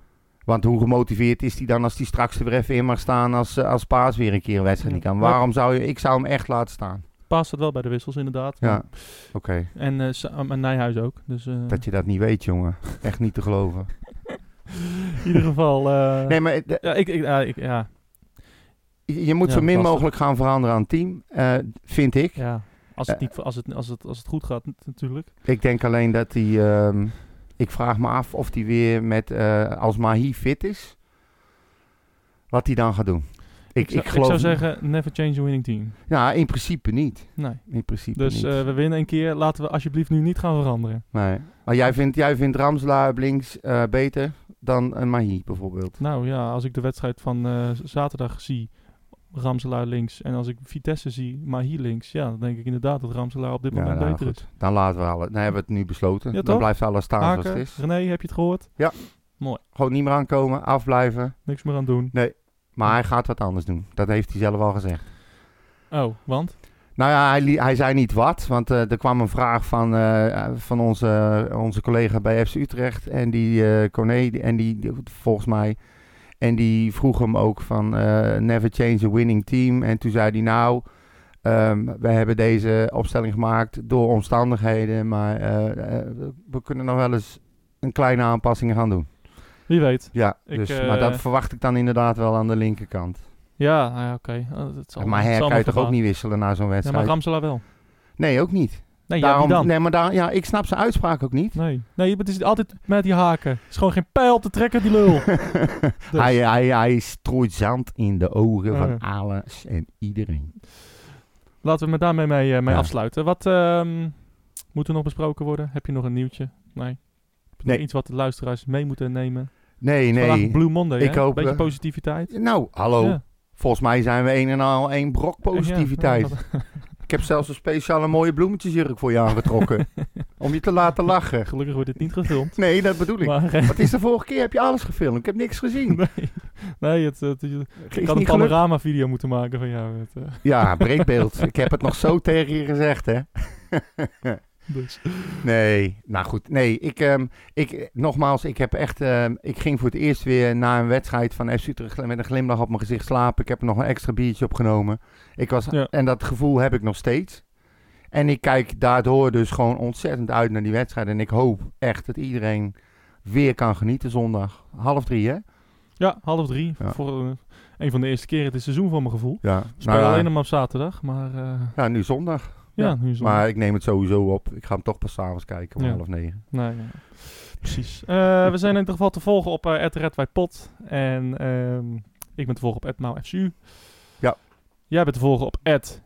S2: Want hoe gemotiveerd is hij dan als hij straks er weer even in mag staan als, eh, als Paas weer een keer een wedstrijd
S1: Ja.
S2: niet kan?
S1: Maar-
S2: Waarom zou je, ik zou hem echt laten staan.
S1: Paas staat wel bij de wissels, inderdaad.
S2: Ja, oké.
S1: En, eh, Sa- en Nijhuis ook. Dus eh,
S2: Dat je dat niet weet, jongen. Echt niet te geloven.
S1: in ieder geval... eh,
S2: Nee, maar eh,
S1: Ja, ik, ik, ja, ik, ja,
S2: je je moet
S1: Ja,
S2: zo min
S1: lastig.
S2: mogelijk gaan veranderen aan het team, eh, vind ik.
S1: ja. Als, het
S2: Eh.
S1: niet, als, het, als, het, als het goed gaat, nat- natuurlijk.
S2: Ik denk alleen dat hij. ehm, ik vraag me af of hij weer met. eh, als Mahi fit is. Wat hij dan gaat doen. Ik, ik,
S1: zou,
S2: geloof.
S1: zou zeggen, never change a winning team.
S2: Ja, in principe niet.
S1: Nee.
S2: In principe
S1: Dus
S2: niet.
S1: eh, we winnen een keer. Laten we alsjeblieft nu niet gaan veranderen.
S2: nee. Maar jij vindt, jij vindt Ramselaar op links eh, beter dan een Mahi bijvoorbeeld.
S1: Nou ja, als ik de wedstrijd van eh, z- zaterdag zie, Ramselaar links. En als ik Vitesse zie, maar hier links. Ja, dan denk ik inderdaad dat Ramselaar op dit
S2: Ja,
S1: moment
S2: nou,
S1: beter is.
S2: Dan laten we alles. Dan hebben we het nu besloten.
S1: Ja, toch?
S2: dan blijft alles staan zoals
S1: Haken,
S2: het is.
S1: René, heb je het gehoord?
S2: Gewoon niet meer aankomen, afblijven.
S1: Niks meer aan doen.
S2: Maar hij gaat wat anders doen. Dat heeft hij zelf al gezegd.
S1: Oh, want?
S2: Nou ja, hij, li- hij zei niet wat, want eh, er kwam een vraag van, eh, van onze, onze collega bij FC Utrecht en die eh Corné, die- en die, die- volgens mij, en die vroeg hem ook van eh, never change a winning team. En toen zei hij nou, ehm, we hebben deze opstelling gemaakt door omstandigheden, maar eh, eh, we kunnen nog wel eens een kleine aanpassing gaan doen.
S1: Wie weet.
S2: Ja,
S1: Ik,
S2: dus,
S1: eh,
S2: maar dat verwacht ik dan inderdaad wel aan de linkerkant.
S1: Ja, nou ja, oké. Oh, dat zal-
S2: maar
S1: dat
S2: hij
S1: zal
S2: kan
S1: me
S2: je toch ook
S1: verbazen.
S2: niet wisselen na zo'n
S1: Ja,
S2: wedstrijd?
S1: maar Ramselaar wel.
S2: nee, ook niet.
S1: Nee, ja,
S2: Daarom,
S1: wie dan? Nee.
S2: Nee, maar daar, ja, ik snap zijn uitspraak ook niet.
S1: nee. het is altijd met die haken. Het is gewoon geen pijl op te trekken, die lul. Dus.
S2: Hij, hij, hij strooit zand in de ogen
S1: Ja.
S2: van alles en iedereen.
S1: Laten we me daarmee mee, eh, mee
S2: Ja.
S1: afsluiten. Wat ehm, moet er nog besproken worden? Heb je nog een nieuwtje? Nee.
S2: Nee.
S1: Iets wat de luisteraars mee moeten nemen.
S2: Nee,
S1: Vandaag
S2: nee.
S1: Blue Monday,
S2: Ik
S1: hè?
S2: hoop,
S1: Beetje
S2: eh,
S1: positiviteit.
S2: Nou, hallo.
S1: Ja.
S2: Volgens mij zijn we een en al één brok positiviteit.
S1: Ja, ja,
S2: Ik heb zelfs een speciale mooie bloemetjesjurk voor je aangetrokken. om je te laten lachen.
S1: gelukkig wordt dit niet gefilmd.
S2: Nee, dat bedoel ik.
S1: maar, eh,
S2: Wat is de vorige keer? Heb je alles gefilmd? Ik heb niks gezien.
S1: nee, nee het, het- het-
S2: Is
S1: ik had een
S2: niet gelukt.
S1: panorama-video moeten maken van jou. Het, eh,
S2: Ja, breedbeeld. ik heb het nog zo tegen je gezegd, hè?
S1: dus.
S2: Nee, nou goed. Nee, ik, ehm, ik eh, nogmaals, ik heb echt. ehm, ik ging voor het eerst weer na een wedstrijd van FC Utrecht met een glimlach op mijn gezicht slapen. Ik heb er nog een extra biertje opgenomen. Ik was,
S1: Ja.
S2: En dat gevoel heb ik nog steeds. En ik kijk daardoor dus gewoon ontzettend uit naar die wedstrijd. En ik hoop echt dat iedereen weer kan genieten zondag. Half drie, hè?
S1: Ja, half drie.
S2: Ja.
S1: Voor eh, een van de eerste keren dit seizoen van mijn gevoel.
S2: Ja,
S1: We spelen
S2: nou,
S1: alleen
S2: ja,
S1: nog maar op zaterdag, maar eh,
S2: ja, nu zondag.
S1: ja,
S2: Ja,
S1: nu is het
S2: Maar ik neem het sowieso op. Ik ga hem toch pas s'avonds kijken om
S1: Ja.
S2: half negen.
S1: Nee, nee. Precies. Eh, we zijn in ieder geval te volgen op uh, @redwhitepot en ehm, ik ben te volgen op @mauFCU.
S2: Ja.
S1: Jij bent te volgen op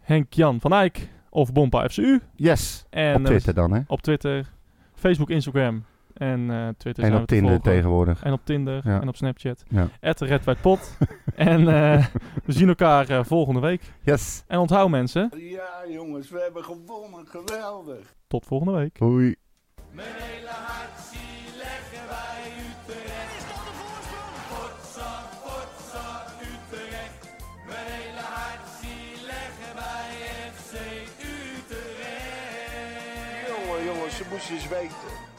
S1: @henkjan van Eyck of Bompa FCU
S2: Yes,
S1: en
S2: op
S1: eh,
S2: Twitter dan, hè?
S1: op Twitter, Facebook, Instagram en eh, Twitter
S2: En
S1: zijn
S2: op
S1: we te
S2: Tinder
S1: volgen.
S2: tegenwoordig.
S1: En op Tinder
S2: Ja.
S1: en op Snapchat.
S2: Ja.
S1: @redwhitepot en eh, we zien elkaar eh, volgende week.
S2: Yes.
S1: En onthoud mensen,
S3: Ja, jongens, we hebben gewonnen. Geweldig.
S1: tot volgende week.
S2: Hoi.
S3: Jongen, jongens, je moest eens weten.